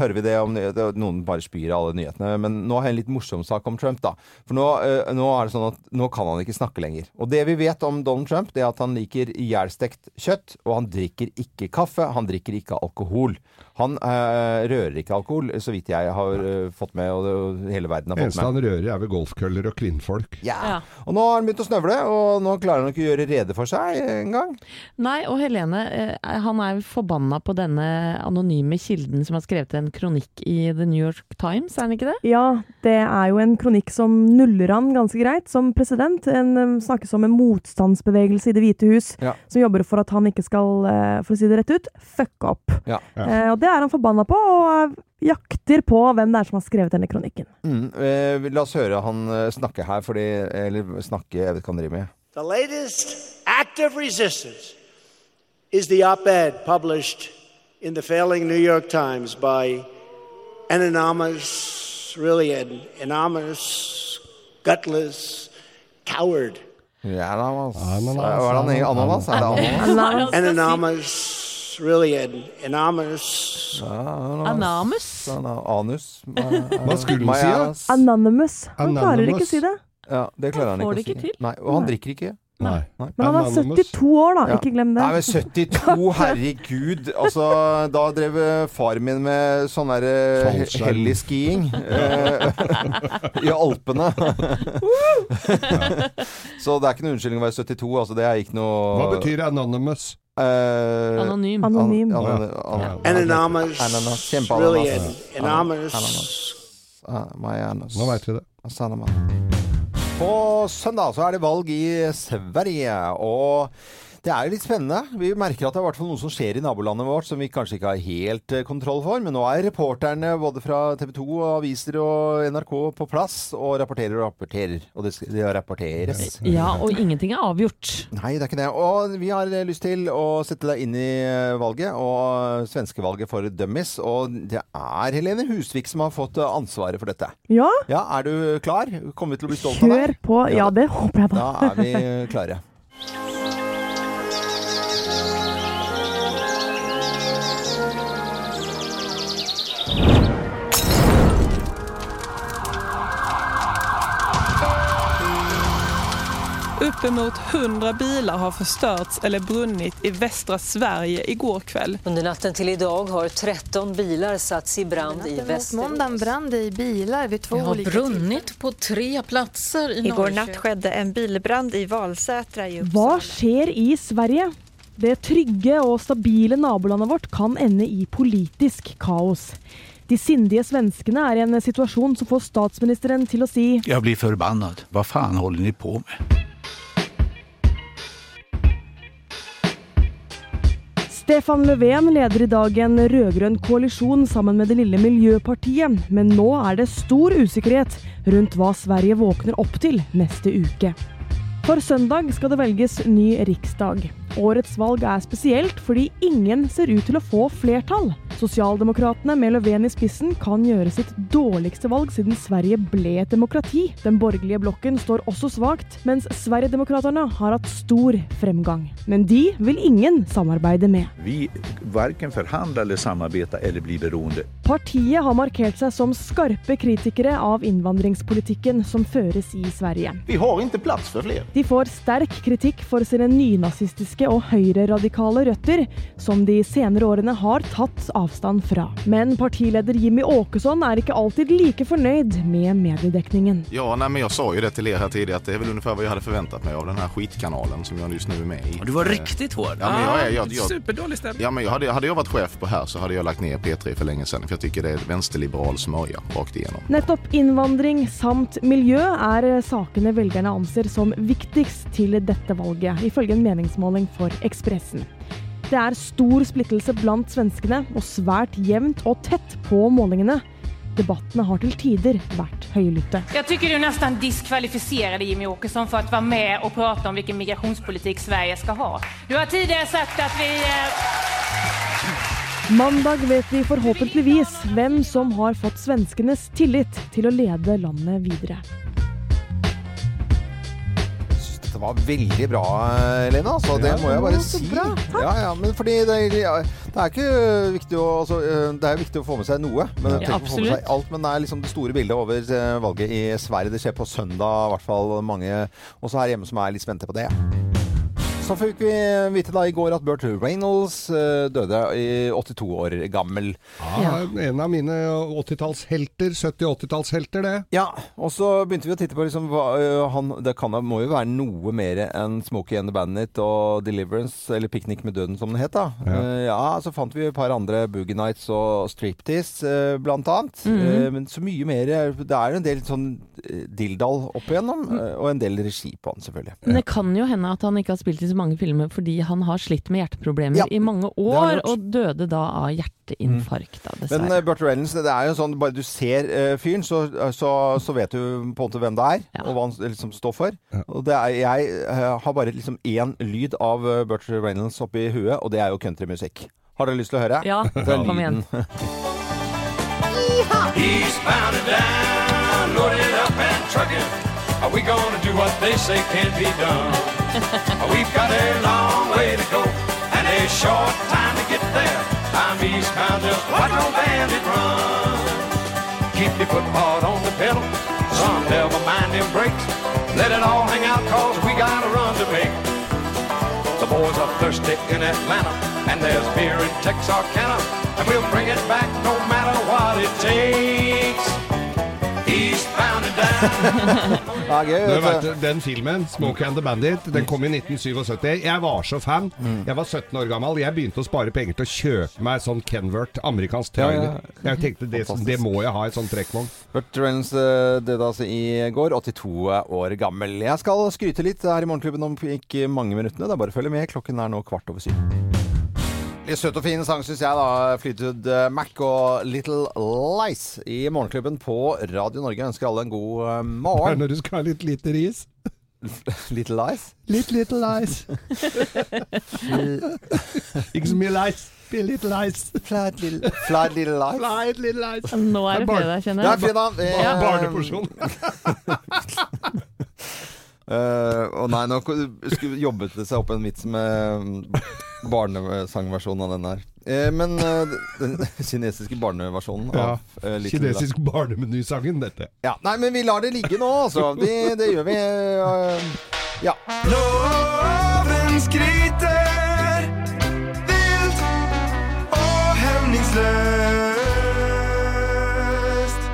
[SPEAKER 1] hører vi det om nyheter. Noen bare spyr av alle nyhetene. Men nå har jeg en litt morsom sak om Trump, da. For nå, eh, nå er det sånn at nå kan han ikke snakke lenger. Og det vi vet om Donald Trump, det er at han liker ihjelstekt kjøtt, og han drikker ikke kaffe. Han drikker ikke alkohol. Han eh, rører ikke alkohol, så vidt jeg har eh, fått med, og, det, og hele verden har fått
[SPEAKER 4] Eneste
[SPEAKER 1] med.
[SPEAKER 4] han rører er ved golfkøller og kvinnfolk.
[SPEAKER 1] Ja.
[SPEAKER 3] Ja.
[SPEAKER 1] Og nå har han begynt å snøvle, og nå klarer han ikke å gjøre rede for seg engang.
[SPEAKER 3] Nei, og Helene, eh, han er forbanna på denne anonyme kilden som har skrevet en kronikk i The New York Times, er han ikke det?
[SPEAKER 5] Ja, det er jo en kronikk som nuller han ganske greit som president. En eh, snakkes om en motstandsbevegelse i Det hvite hus
[SPEAKER 1] Ja.
[SPEAKER 5] som jobber for at han ikke skal, eh, for å si det rett ut, fucke opp.
[SPEAKER 1] Ja.
[SPEAKER 4] Ja.
[SPEAKER 5] Eh, og det er han forbanna på, og eh, jakter på hvem det er som har skrevet denne kronikken.
[SPEAKER 1] Mm, eh, la oss høre han eh, snakke her, fordi Eller snakke, jeg vet ikke hva han driver med.
[SPEAKER 6] The latest act of resistance is the op ed published in the failing New York Times by an anonymous, really an anonymous, gutless coward.
[SPEAKER 1] Ja, da, ass.
[SPEAKER 4] Ananas,
[SPEAKER 1] Hva er det han heter? Ananas? Er det ananas?
[SPEAKER 3] Anamus.
[SPEAKER 6] An anonymous, really an anonymous,
[SPEAKER 3] Anamus.
[SPEAKER 1] Ana- Anus? <laughs> Hva
[SPEAKER 4] skulle han si, da?
[SPEAKER 5] Anonymous. Han klarer
[SPEAKER 4] Anonymous.
[SPEAKER 5] ikke å si det.
[SPEAKER 1] Ja, det klarer han ikke
[SPEAKER 3] Han får
[SPEAKER 1] å
[SPEAKER 3] det
[SPEAKER 1] si.
[SPEAKER 3] ikke til.
[SPEAKER 1] Nei, og han drikker ikke.
[SPEAKER 4] Nei.
[SPEAKER 5] Men han er
[SPEAKER 4] Anonymous.
[SPEAKER 5] 72 år, da.
[SPEAKER 1] Ja.
[SPEAKER 5] Ikke glem det.
[SPEAKER 1] Nei, men
[SPEAKER 3] <laughs>
[SPEAKER 1] 72, herregud. Altså, da drev eh, far min med sånn der eh, he-
[SPEAKER 4] Fallskjerm.
[SPEAKER 1] heliskiing eh, <laughs> i
[SPEAKER 3] <laughs>
[SPEAKER 1] Alpene. Så det er ikke noen unnskyldning å være 72. Altså, det er ikke noe
[SPEAKER 4] Hva betyr anonymous?
[SPEAKER 1] eh,
[SPEAKER 3] Anonym.
[SPEAKER 5] Anonym.
[SPEAKER 1] An, an,
[SPEAKER 4] Ja.
[SPEAKER 1] an,
[SPEAKER 6] an anonymous,
[SPEAKER 1] Ananas, kjempeananas.
[SPEAKER 6] really an
[SPEAKER 1] Ananas.
[SPEAKER 6] anonymous,
[SPEAKER 1] Marianos.
[SPEAKER 4] Nå veit vi det.
[SPEAKER 1] På søndag så er det valg i Sverige, og det er jo litt spennende. Vi merker at det er i hvert fall noe som skjer i nabolandet vårt som vi kanskje ikke har helt eh, kontroll for, men nå er reporterne både fra TV 2 og aviser og NRK på plass og rapporterer og rapporterer. Og det, skal, det rapporteres.
[SPEAKER 3] Ja, og ingenting er avgjort.
[SPEAKER 1] Nei, det er ikke det. Og vi har eh, lyst til å sette deg inn i eh, valget, og eh, svenskevalget for dummies. Og det er Helene Husvik som har fått eh, ansvaret for dette.
[SPEAKER 2] Ja,
[SPEAKER 1] Ja, er du klar? Kommer vi til å bli stolt av deg?
[SPEAKER 2] kjør på. Ja, det håper jeg da.
[SPEAKER 1] Da er vi eh, klare.
[SPEAKER 7] Uppemot 100 bilar har förstörts eller brunnit i västra Sverige igår kväll.
[SPEAKER 8] Under natten till idag har 13 bilar satts i brand i Västerås.
[SPEAKER 5] brann det i bilar vid två
[SPEAKER 7] Det har brunnit på tre platser i Norrköping.
[SPEAKER 5] skedde en bilbrand i Valsätra i
[SPEAKER 2] Hva skjer i Sverige? Det trygge og stabile nabolandet vårt kan ende i politisk kaos. De sindige svenskene er i en situasjon som får statsministeren til å si
[SPEAKER 9] Jag blir förbannad. Vad fan håller ni på med?
[SPEAKER 2] Stefan Löfven leder i dag en rød-grønn koalisjon sammen med det lille Miljøpartiet, men nå er det stor usikkerhet rundt hva Sverige våkner opp til neste uke. For søndag skal det velges ny riksdag. Årets valg er spesielt fordi ingen ser ut til å få flertall. Sosialdemokratene med Löfven i spissen kan gjøre sitt dårligste valg siden Sverige ble et demokrati. Den borgerlige blokken står også svakt, mens Sverigedemokraterna har hatt stor fremgang. Men de vil ingen samarbeide med.
[SPEAKER 9] Vi varken förhandlar eller samarbetar eller blir beroende.
[SPEAKER 2] Partiet har markert seg som skarpe kritikere av innvandringspolitikken som føres i Sverige.
[SPEAKER 9] Vi har inte plats för fler.
[SPEAKER 2] De får sterk kritikk for sine nynazistiske og høyreradikale røtter, som de senere årene har tatt avstand fra. Men partileder Jimmy Åkesson er ikke alltid like fornøyd med mediedekningen.
[SPEAKER 9] Ja, nej, men jag sa ju det till er här tidigare att det är väl ungefär vad jag hade förväntat mig av den här skitkanalen som jag just nu är med i. Du var riktigt hård. Ja, men jag, är- jag, jag, Superdålig stämning. Ja, men jag hade, hade jag varit chef på här så hade jag lagt ner P3 för länge sedan för jag tycker det är vänsterliberal smörja rakt igenom.
[SPEAKER 2] Nettopp innvandring samt miljø er sakene velgerne anser som viktigst til dette valget, ifølge en meningsmåling for Ekspressen. Det er stor splittelse blant svenskene, og svært jevnt og tett på målingene. Debattene har til tider vært høylytte.
[SPEAKER 5] Jag tycker du nästan diskvalificerade Jimmy Åkesson för att vara med och prata om vilken migrationspolitik Sverige ska ha. Du har tidigare sagt att vi... Eh...
[SPEAKER 2] Mandag vet vi forhåpentligvis hvem som har fått svenskenes tillit til å lede landet videre.
[SPEAKER 1] Jeg synes Dette var veldig bra, Lena. Så det må jeg bare si. Ja, ja, men fordi det, ja, det er ikke viktig å altså, eh, Det er viktig å få med seg noe. Men
[SPEAKER 3] Ja,
[SPEAKER 1] ja, å få med
[SPEAKER 3] absolutt.
[SPEAKER 1] seg alt, men det er liksom det store bildet over eh, valget i Sverige. Det skjer på søndag, i hvert fall mange også her hjemme som er litt spente på det. Så fikk vi vite da i går at Burt Reynolds eh, døde i 82 år gammel.
[SPEAKER 4] Ja, Ah, en av mine 80-tallshelter. 70-80-tallshelter, det.
[SPEAKER 1] Ja, og så begynte vi å titte på liksom, hva, ø, han, Det kan, da- må jo være noe mer enn Smokey and the Bandit og Deliverance, eller Picnic med døden som den het. da.
[SPEAKER 4] Ja.
[SPEAKER 1] Eh, ja, Så fant vi et par andre, Boogie Nights og Striptease eh, blant annet. Eh, men så mye mer er- Det er en del sånn eh, dilldall opp igjennom, eh, og en del regi på han, selvfølgelig.
[SPEAKER 3] Men det kan jo hende at han ikke har spilt i så mange filmer fordi han har slitt med hjerteproblemer
[SPEAKER 1] Ja,
[SPEAKER 3] i mange
[SPEAKER 1] har han
[SPEAKER 3] år,
[SPEAKER 1] gjort.
[SPEAKER 3] og døde da av hjerteinfarkt, da,
[SPEAKER 1] Men
[SPEAKER 3] dessverre.
[SPEAKER 1] uh, Burt Reynolds, det er jo sånn bare du ser eh, fyren, så, så, så vet du på en måte hvem det er,
[SPEAKER 3] Ja.
[SPEAKER 1] og hva han liksom står for. Og det er, jeg eh, har bare liksom én lyd av eh, Burt Reynolds oppi huet, og det er jo countrymusikk. Har dere lyst til å høre? <laughs>
[SPEAKER 3] Ja,
[SPEAKER 1] Den
[SPEAKER 3] kom igjen.
[SPEAKER 1] <laughs> lyden.
[SPEAKER 9] Are we gonna do what they say can't be done? We've got a long way to go and a short time to get there. I'm eastbound, just watch no bandit run. Keep your foot hard on the pedal, son, never mind them brakes. Let it all hang out, cause we got a run to make. The boys are thirsty in Atlanta, and there's beer in Texarkana, and we'll bring it back no matter what it takes. Eastbound and
[SPEAKER 10] Ja, gøy,
[SPEAKER 4] Det
[SPEAKER 10] vet
[SPEAKER 4] vet,
[SPEAKER 10] du.
[SPEAKER 4] du, den filmen, 'Smoke and the Bandit', den kom i 1977. Jeg var så fan.
[SPEAKER 1] Mm.
[SPEAKER 4] Jeg var 17 år gammel. Jeg begynte å spare penger til å kjøpe meg sånn Kenvert amerikansk
[SPEAKER 1] Ja, ja.
[SPEAKER 4] trailer. Jeg tenkte det, det må jeg ha i sånn trekkvogn.
[SPEAKER 1] Burt Reynolds eh, døde altså i går, 82 år gammel. Jeg skal skryte litt her i Morgenklubben om ikke mange minuttene. Det er bare å følge med. Klokken er nå kvart over syv. Litt søt og fin sang, syns jeg, da. Flytud Mac og Little Lies i Morgenklubben på Radio Norge. Jeg ønsker alle en god eh,
[SPEAKER 4] Det er
[SPEAKER 1] morgen. <laughs>
[SPEAKER 4] når du skal ha litt lite ris.
[SPEAKER 1] Little Lies?
[SPEAKER 4] Litt little lies. Ikke så mye lies. Be little lies.
[SPEAKER 1] Flat little, flat little lies.
[SPEAKER 4] Flight little lies.
[SPEAKER 3] Nå er det
[SPEAKER 4] barn-
[SPEAKER 3] fredag,
[SPEAKER 1] Det
[SPEAKER 3] kjenner
[SPEAKER 1] er
[SPEAKER 3] jeg.
[SPEAKER 1] fredag. Eh,
[SPEAKER 4] Ja. Barneporsjon.
[SPEAKER 1] Eh, og nei, nå skulle jobbet det seg opp en vits med mm, barnesangversjonen av den her. Eh, men eh, den kinesiske barneversjonen
[SPEAKER 4] <laughs> Ja.
[SPEAKER 1] av eh, Little Lies.
[SPEAKER 4] Kinesisk barnemenysangen, dette.
[SPEAKER 1] Ja, nei, men vi lar det ligge nå,
[SPEAKER 11] <laughs>
[SPEAKER 1] altså. Det, det gjør vi. eh, ja.
[SPEAKER 11] Loven skriter vilt og hemningsløst.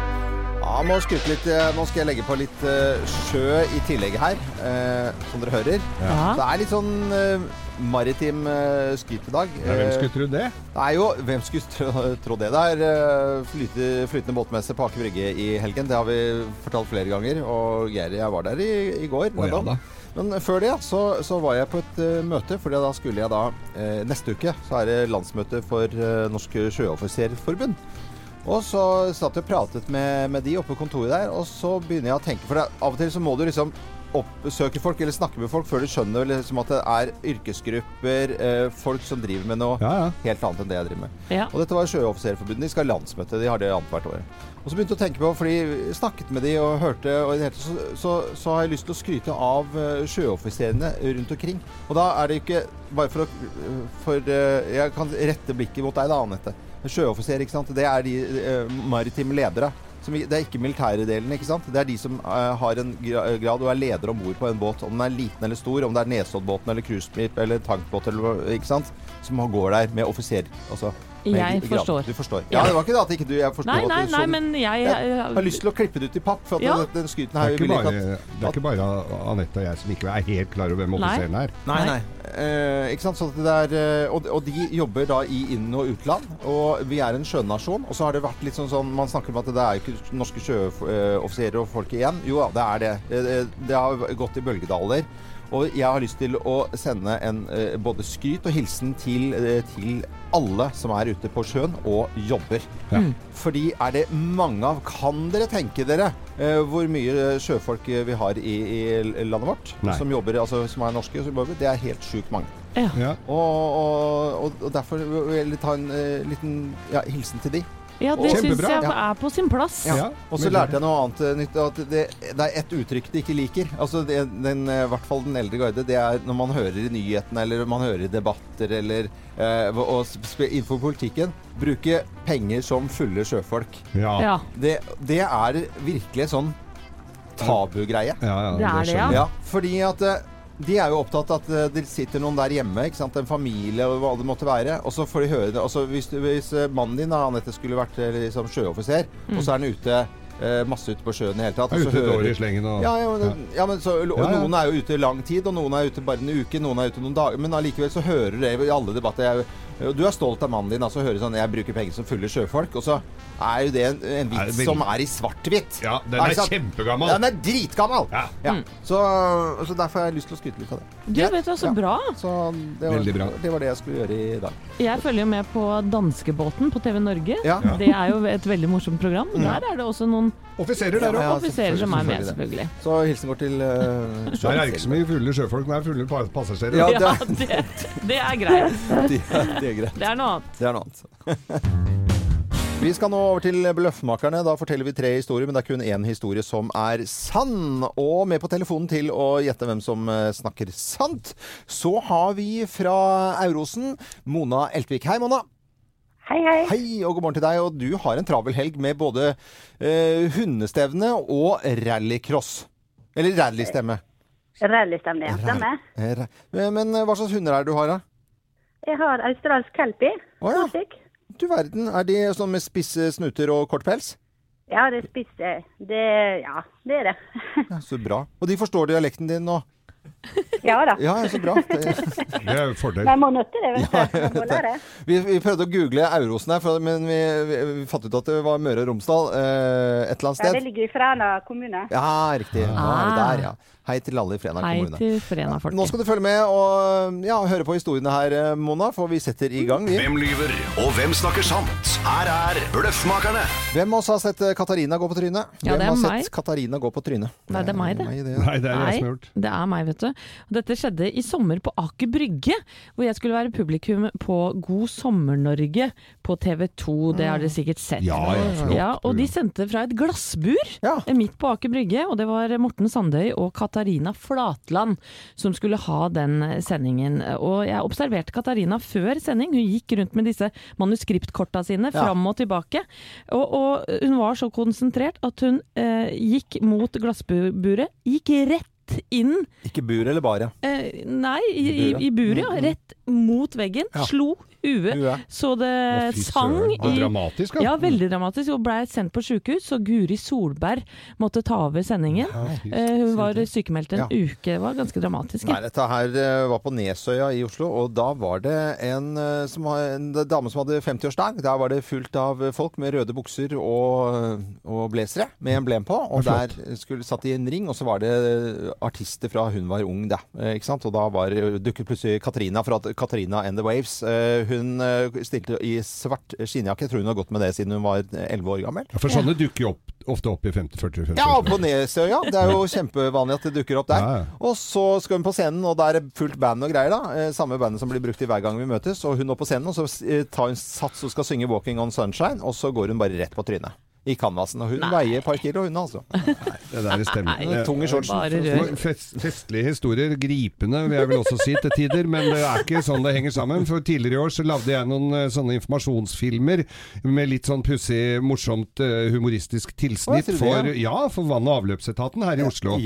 [SPEAKER 1] ja må skryte litt. eh, Nå skal jeg legge på litt eh, sjø i tillegg her, eh, som dere hører. Så Det er litt sånn eh, maritim eh, skryt i dag.
[SPEAKER 4] Ja, hvem
[SPEAKER 1] Eh,
[SPEAKER 4] skulle tro det?
[SPEAKER 1] Det er jo, hvem skulle tro, tro det der? eh, Flyte, flytende båtmesse på Aker Brygge i helgen. Det har vi fortalt flere ganger. Og Geir og jeg var der i, i går.
[SPEAKER 4] Å, ja da.
[SPEAKER 1] Men før det så, så var jeg på et eh, møte, for da skulle jeg da eh, Neste uke så er det landsmøte for eh, Norsk Sjøoffiserforbund. Og så satt jeg og pratet med, med de oppe på kontoret der, og så begynner jeg å tenke For det, er- av og til så må du liksom oppsøke folk eller snakke med folk før du skjønner liksom at det er yrkesgrupper, eh, folk som driver med noe
[SPEAKER 4] Ja, ja.
[SPEAKER 1] helt annet enn det jeg driver med.
[SPEAKER 3] Ja.
[SPEAKER 1] Og dette var Sjøoffiserforbundet. De skal ha landsmøte. De har det annethvert år. Og så begynte jeg å tenke på, fordi jeg snakket med de og hørte, og i det hele tatt så, så, så har jeg lyst til å skryte av eh, sjøoffiserene rundt omkring. Og da er det jo ikke bare for å For eh, jeg kan rette blikket mot deg da, Anette. Sjøoffiser, ikke sant. Det er de eh, maritime ledere. Som, i- det er ikke militære delen, ikke sant. Det er de som eh, har en gra- grad og er leder om bord på en båt. Om den er liten eller stor, om det er Nesoddbåten eller cruiseskip eller tankbåt eller hva- ikke sant. Som går der med offiser. Altså, med
[SPEAKER 3] Jeg
[SPEAKER 1] grad.
[SPEAKER 3] forstår.
[SPEAKER 1] Du forstår. Ja, det var ikke det at ikke du jeg forstår
[SPEAKER 3] Nei,
[SPEAKER 1] at
[SPEAKER 3] nei,
[SPEAKER 1] du
[SPEAKER 3] nei,
[SPEAKER 1] så-
[SPEAKER 3] men jeg,
[SPEAKER 1] Jeg har lyst til å klippe det ut i papp, for at
[SPEAKER 3] Ja.
[SPEAKER 1] den, den skryten
[SPEAKER 4] Det
[SPEAKER 1] her
[SPEAKER 4] er ikke
[SPEAKER 1] vil
[SPEAKER 4] bare,
[SPEAKER 1] ikke at
[SPEAKER 4] det er ikke bare Anette og jeg som ikke er helt klar over hvem offiseren er.
[SPEAKER 1] Nei, nei. Eh, ikke sant? Så at det er, eh, og, og de jobber da i inn- og utland. Og vi er en sjønasjon. Og så har det vært litt sånn sånn Man snakker om at det er jo ikke norske sjøoffiserer og folk igjen. Jo da, det er det. Eh, eh, Det har gått i bølgedaler. Og jeg har lyst til å sende en eh, både skryt og hilsen til, eh, til alle som er ute på sjøen og jobber. Fordi er det mange av Kan dere tenke dere eh, hvor mye sjøfolk eh, vi har i, i landet vårt?
[SPEAKER 4] Nei.
[SPEAKER 1] Som jobber, altså som er norske. Som jobber, det er helt sjukt mange.
[SPEAKER 4] Ja.
[SPEAKER 1] Og, og, og, og derfor vil jeg ta en eh, liten ja, hilsen til de.
[SPEAKER 3] Ja, det syns
[SPEAKER 4] Kjempebra.
[SPEAKER 3] jeg
[SPEAKER 1] Ja.
[SPEAKER 3] er på sin plass.
[SPEAKER 4] Ja.
[SPEAKER 1] Og så lærte jeg noe annet eh, nytt. At det, det er ett uttrykk de ikke liker. Altså det, den, eh, I hvert fall den eldre garde. Det er når man hører i nyhetene eller man hører i debatter eller eh, og sp- innenfor politikken. Bruke penger som fulle sjøfolk.
[SPEAKER 4] Ja.
[SPEAKER 3] Ja.
[SPEAKER 1] Det, det er virkelig en sånn tabugreie.
[SPEAKER 4] Ja, ja,
[SPEAKER 3] Det er det,
[SPEAKER 4] skjønner jeg.
[SPEAKER 1] Ja, fordi at eh, de er jo opptatt av at eh, det sitter noen der hjemme, ikke sant? en familie og hva det måtte være. Og så får de høre det. Altså, hvis, du- hvis eh, mannen din, da, Anette, skulle vært eh, liksom, sjøoffiser, og så er han ute eh, masse ute på sjøen i det hele tatt
[SPEAKER 4] Er
[SPEAKER 1] og så
[SPEAKER 4] ute et
[SPEAKER 1] hører-
[SPEAKER 4] år i slengen og
[SPEAKER 1] ja, ja, men, ja, men så, og
[SPEAKER 4] Ja, ja.
[SPEAKER 1] noen er jo ute lang tid, og noen er ute bare en uke, noen er ute noen dager. Men allikevel så hører du det i alle debatter. Jeg, og du er stolt av mannen din, altså hører sånn 'Jeg bruker penger som fulle sjøfolk', og så er jo det en, en
[SPEAKER 4] Er det
[SPEAKER 1] vits
[SPEAKER 4] veldig-
[SPEAKER 1] som er i svart-hvitt.
[SPEAKER 4] Ja, den
[SPEAKER 1] Ikke
[SPEAKER 4] er
[SPEAKER 1] sant?
[SPEAKER 4] kjempegammel.
[SPEAKER 1] Den er dritgammel!
[SPEAKER 4] Ja.
[SPEAKER 1] Så, så derfor har jeg lyst til å skryte litt av det.
[SPEAKER 3] Du vet du, så
[SPEAKER 1] Ja.
[SPEAKER 3] bra.
[SPEAKER 1] Så det var,
[SPEAKER 4] Veldig bra.
[SPEAKER 1] det var det jeg skulle gjøre i dag.
[SPEAKER 3] Jeg følger jo med på Danskebåten på TV Norge.
[SPEAKER 1] Ja.
[SPEAKER 3] Det er jo et veldig morsomt program. Der er det også noen
[SPEAKER 4] Offiserer
[SPEAKER 1] Ja,
[SPEAKER 4] der òg.
[SPEAKER 1] ja,
[SPEAKER 3] offiserer som er med,
[SPEAKER 1] selvfølgelig
[SPEAKER 3] selvfølgelig.
[SPEAKER 1] det. Så hilsen går til eh,
[SPEAKER 4] Der er det ikke
[SPEAKER 1] <laughs>
[SPEAKER 4] så mye fulle sjøfolk, men det er fulle pa- passasjerer.
[SPEAKER 1] Ja,
[SPEAKER 3] Ja,
[SPEAKER 1] det,
[SPEAKER 3] det, det er greit.
[SPEAKER 1] det, det er greit.
[SPEAKER 3] Det er noe annet.
[SPEAKER 1] Det er noe annet. <laughs> Vi skal nå over til Bløffmakerne. Da forteller vi tre historier, men det er kun én historie som er sann. Og med på telefonen til å gjette hvem som eh, snakker sant, så har vi fra Eurosen Mona Eltvik. Hei, Mona.
[SPEAKER 9] Hei, hei.
[SPEAKER 1] Hei, og god morgen til deg. Og du har en travel helg med både eh, hundestevne og rallycross. Eller rallystemme.
[SPEAKER 9] Rallystemning, ja. Stemmer.
[SPEAKER 1] Eh, ra- Men eh, hva slags hunder er det du har, da?
[SPEAKER 9] Jeg har australsk kelpie.
[SPEAKER 1] Å ja.
[SPEAKER 9] Norsk.
[SPEAKER 1] Du verden. Er de sånn med spisse snuter og kort pels?
[SPEAKER 12] Ja, det spiste jeg. Det, ja, det er det. <laughs>
[SPEAKER 1] Ja, så bra. Og de forstår dialekten din nå?
[SPEAKER 12] Ja da.
[SPEAKER 1] Ja, så bra. Det-
[SPEAKER 4] Det er jo fordel.
[SPEAKER 12] Man må nøtte det, vet du. Man må lære.
[SPEAKER 1] Vi, vi prøvde å google Eurosen her, for- men vi, vi, vi fant ut at det var Møre og Romsdal eh, et eller
[SPEAKER 12] Ja,
[SPEAKER 1] annet
[SPEAKER 12] det
[SPEAKER 1] sted.
[SPEAKER 12] ligger i Fræna kommune.
[SPEAKER 1] Ja, riktig. Nå er vi der, ja. Hei til alle i Frena
[SPEAKER 3] Hei
[SPEAKER 1] kommune.
[SPEAKER 3] til Frena folket.
[SPEAKER 1] Nå skal du følge med og ja, høre på historiene her, eh, Mona, for vi setter i gang. Vi.
[SPEAKER 9] Hvem lyver, og hvem snakker sant? Her er Bløffmakerne.
[SPEAKER 1] Hvem av oss har sett eh, Katarina gå på trynet?
[SPEAKER 3] Ja,
[SPEAKER 1] Hvem
[SPEAKER 3] det er
[SPEAKER 1] har
[SPEAKER 3] meg.
[SPEAKER 1] sett Katarina gå på trynet?
[SPEAKER 3] Nei, det er meg, det.
[SPEAKER 1] Nei, det er jeg som har gjort.
[SPEAKER 3] det er meg, vet du. Og Dette skjedde i sommer på Aker Brygge, hvor jeg skulle være publikum på God sommer-Norge på TV 2. Det har dere sikkert sett.
[SPEAKER 13] Ja, ja, flott.
[SPEAKER 3] Ja, og de sendte fra et glassbur eh, midt på Aker Brygge, og det var Morten Sandøy og Katarina Flatland som skulle ha den eh, sendingen. Og jeg observerte Katarina før sending, hun gikk rundt med disse manuskriptkorta sine
[SPEAKER 13] Ja.
[SPEAKER 3] fram og tilbake. Og, og hun var så konsentrert at hun eh, gikk mot glassburet, gikk rett inn
[SPEAKER 1] Ikke bur eller bare.
[SPEAKER 3] Eh, nei, i, i,
[SPEAKER 1] buret.
[SPEAKER 3] i buret, ja.
[SPEAKER 1] Mm, mm.
[SPEAKER 3] Rett mot veggen.
[SPEAKER 1] Ja.
[SPEAKER 3] Slo huet,
[SPEAKER 1] Huet.
[SPEAKER 3] så
[SPEAKER 1] Å,
[SPEAKER 3] det
[SPEAKER 1] fy
[SPEAKER 3] eh, sang.
[SPEAKER 1] søren. Det var
[SPEAKER 3] i-
[SPEAKER 1] dramatisk, da.
[SPEAKER 3] Ja, veldig dramatisk. Og blei sendt på sjukehus, så Guri Solberg måtte ta over sendingen. Eh, hun var sykemeldt en
[SPEAKER 1] Ja.
[SPEAKER 3] uke. Det var ganske dramatisk.
[SPEAKER 1] Nei, dette her eh, var på Nesøya i Oslo, og da var det en, eh, som, har- en dame som hadde 50-årsdag. Der var det fullt av folk med røde bukser og, og blazere med emblem på. Og
[SPEAKER 14] Det er
[SPEAKER 1] der skulle, satt de i en ring, og så var det eh, artister fra hun var ung, da. eh, Ikke sant? Og da var, dukket plutselig Katrina fra Katrina and the Waves. Eh, Hun eh, stilte i svart skinnjakke. Jeg tror hun har gått med det siden hun var 11 år gammel.
[SPEAKER 4] Ja, for sånne dukker jo opp, ofte opp i 50-40-50.
[SPEAKER 1] Ja, på Nesøya. Det er jo kjempevanlig at det dukker opp der. Og så skal hun på scenen, og det er fullt band og greier, da. Eh, Samme bandet som blir brukt i hver gang vi møtes. Og hun er på scenen, og så eh, tar hun sats og skal synge 'Walking on Sunshine', og så går hun bare rett på trynet. I canvasen. Og hun veier et par kilo, hun altså.
[SPEAKER 4] Det der stemmer.
[SPEAKER 1] Nei, tung i shortsen. bare rør.
[SPEAKER 4] Fest, festlige historier, gripende vil jeg vel også si til tider, men det er ikke sånn det henger sammen. For tidligere i år så lagde jeg noen eh, sånne informasjonsfilmer med litt sånn pussig, morsomt, eh, humoristisk tilsnitt
[SPEAKER 1] Å, jeg tror
[SPEAKER 4] for,
[SPEAKER 1] det,
[SPEAKER 4] ja, for vann- og avløpsetaten her i Oslo.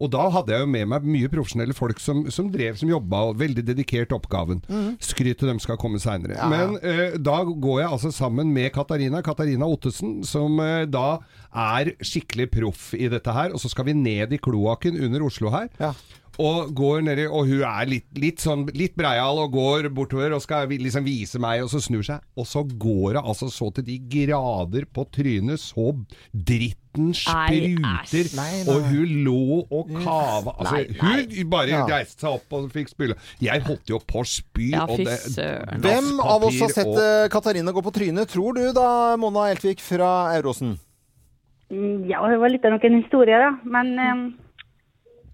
[SPEAKER 4] Og da hadde jeg jo med meg mye profesjonelle folk som, som drev, som jobba, og veldig dedikert til oppgaven.
[SPEAKER 1] Mhm.
[SPEAKER 4] Skryt til dem skal komme seinere.
[SPEAKER 1] Ja.
[SPEAKER 4] Men eh, da går jeg altså sammen med Katarina, Katarina Ottesen, som eh, da er skikkelig proff i dette her. Og så skal vi ned i kloakken under Oslo her. Og går nedi, og hun er litt, litt sånn litt breial og går bortover og skal vi- liksom vise meg, og så snur seg. Og så går det altså så til de grader på trynet, så dritten
[SPEAKER 8] Nei,
[SPEAKER 4] spruter,
[SPEAKER 8] æsj. Nei, nei.
[SPEAKER 4] og hun lå og
[SPEAKER 1] Mm.
[SPEAKER 4] kava. Altså,
[SPEAKER 8] Nei, nei.
[SPEAKER 4] hun bare
[SPEAKER 8] Ja.
[SPEAKER 4] reiste seg opp og fikk spille. Jeg holdt jo på å spy.
[SPEAKER 1] Ja,
[SPEAKER 4] og
[SPEAKER 1] fy
[SPEAKER 4] det-
[SPEAKER 1] søren. Hvem av oss har
[SPEAKER 4] dasspapir
[SPEAKER 1] sett
[SPEAKER 4] og-
[SPEAKER 1] eh, Katarina gå på trynet, tror du da, Mona Eltvik fra Eurosen?
[SPEAKER 12] Mm, Ja, det var litt av noen historier, da. Men em,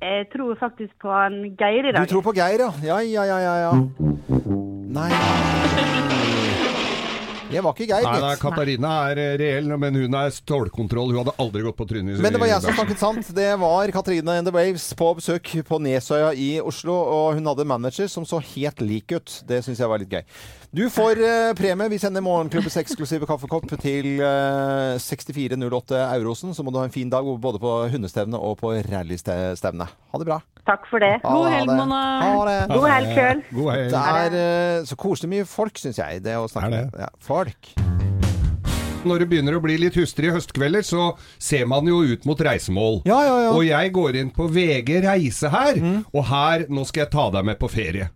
[SPEAKER 12] jeg tror faktisk på en Geir i
[SPEAKER 1] Du
[SPEAKER 12] dag.
[SPEAKER 1] tror på Geir, ja? Ja, ja, ja, ja. ja. Nei Det var ikke Geir,
[SPEAKER 4] Nei, nei,
[SPEAKER 1] gitt.
[SPEAKER 4] Katarina er eh, reell, men hun er stålkontroll. Hun hadde aldri gått på trynet. i-
[SPEAKER 1] Men det var jeg som
[SPEAKER 4] i-
[SPEAKER 1] snakket sant. Det var Katrine and the Waves på besøk på Nesøya i Oslo. Og hun hadde en manager som så helt lik ut. Det syns jeg var litt gøy. Du får eh, premie. Vi sender Morgenklubbens eksklusive kaffekopp til eh, 6408 Eurosen. Så må du ha en fin dag både på hundestevne og på rallystevne. Ha det bra.
[SPEAKER 12] Takk for det.
[SPEAKER 1] God helg, Mona. Ha det.
[SPEAKER 12] God helg, Kjøl.
[SPEAKER 1] Det er eh, så koselig mye folk, syns jeg, det å snakke med. Ja, folk.
[SPEAKER 4] Når det begynner å bli litt hustrige høstkvelder, så ser man jo ut mot reisemål. Og jeg går inn på VG Reise her,
[SPEAKER 1] Mm.
[SPEAKER 4] og her Nå skal jeg ta deg med på ferie.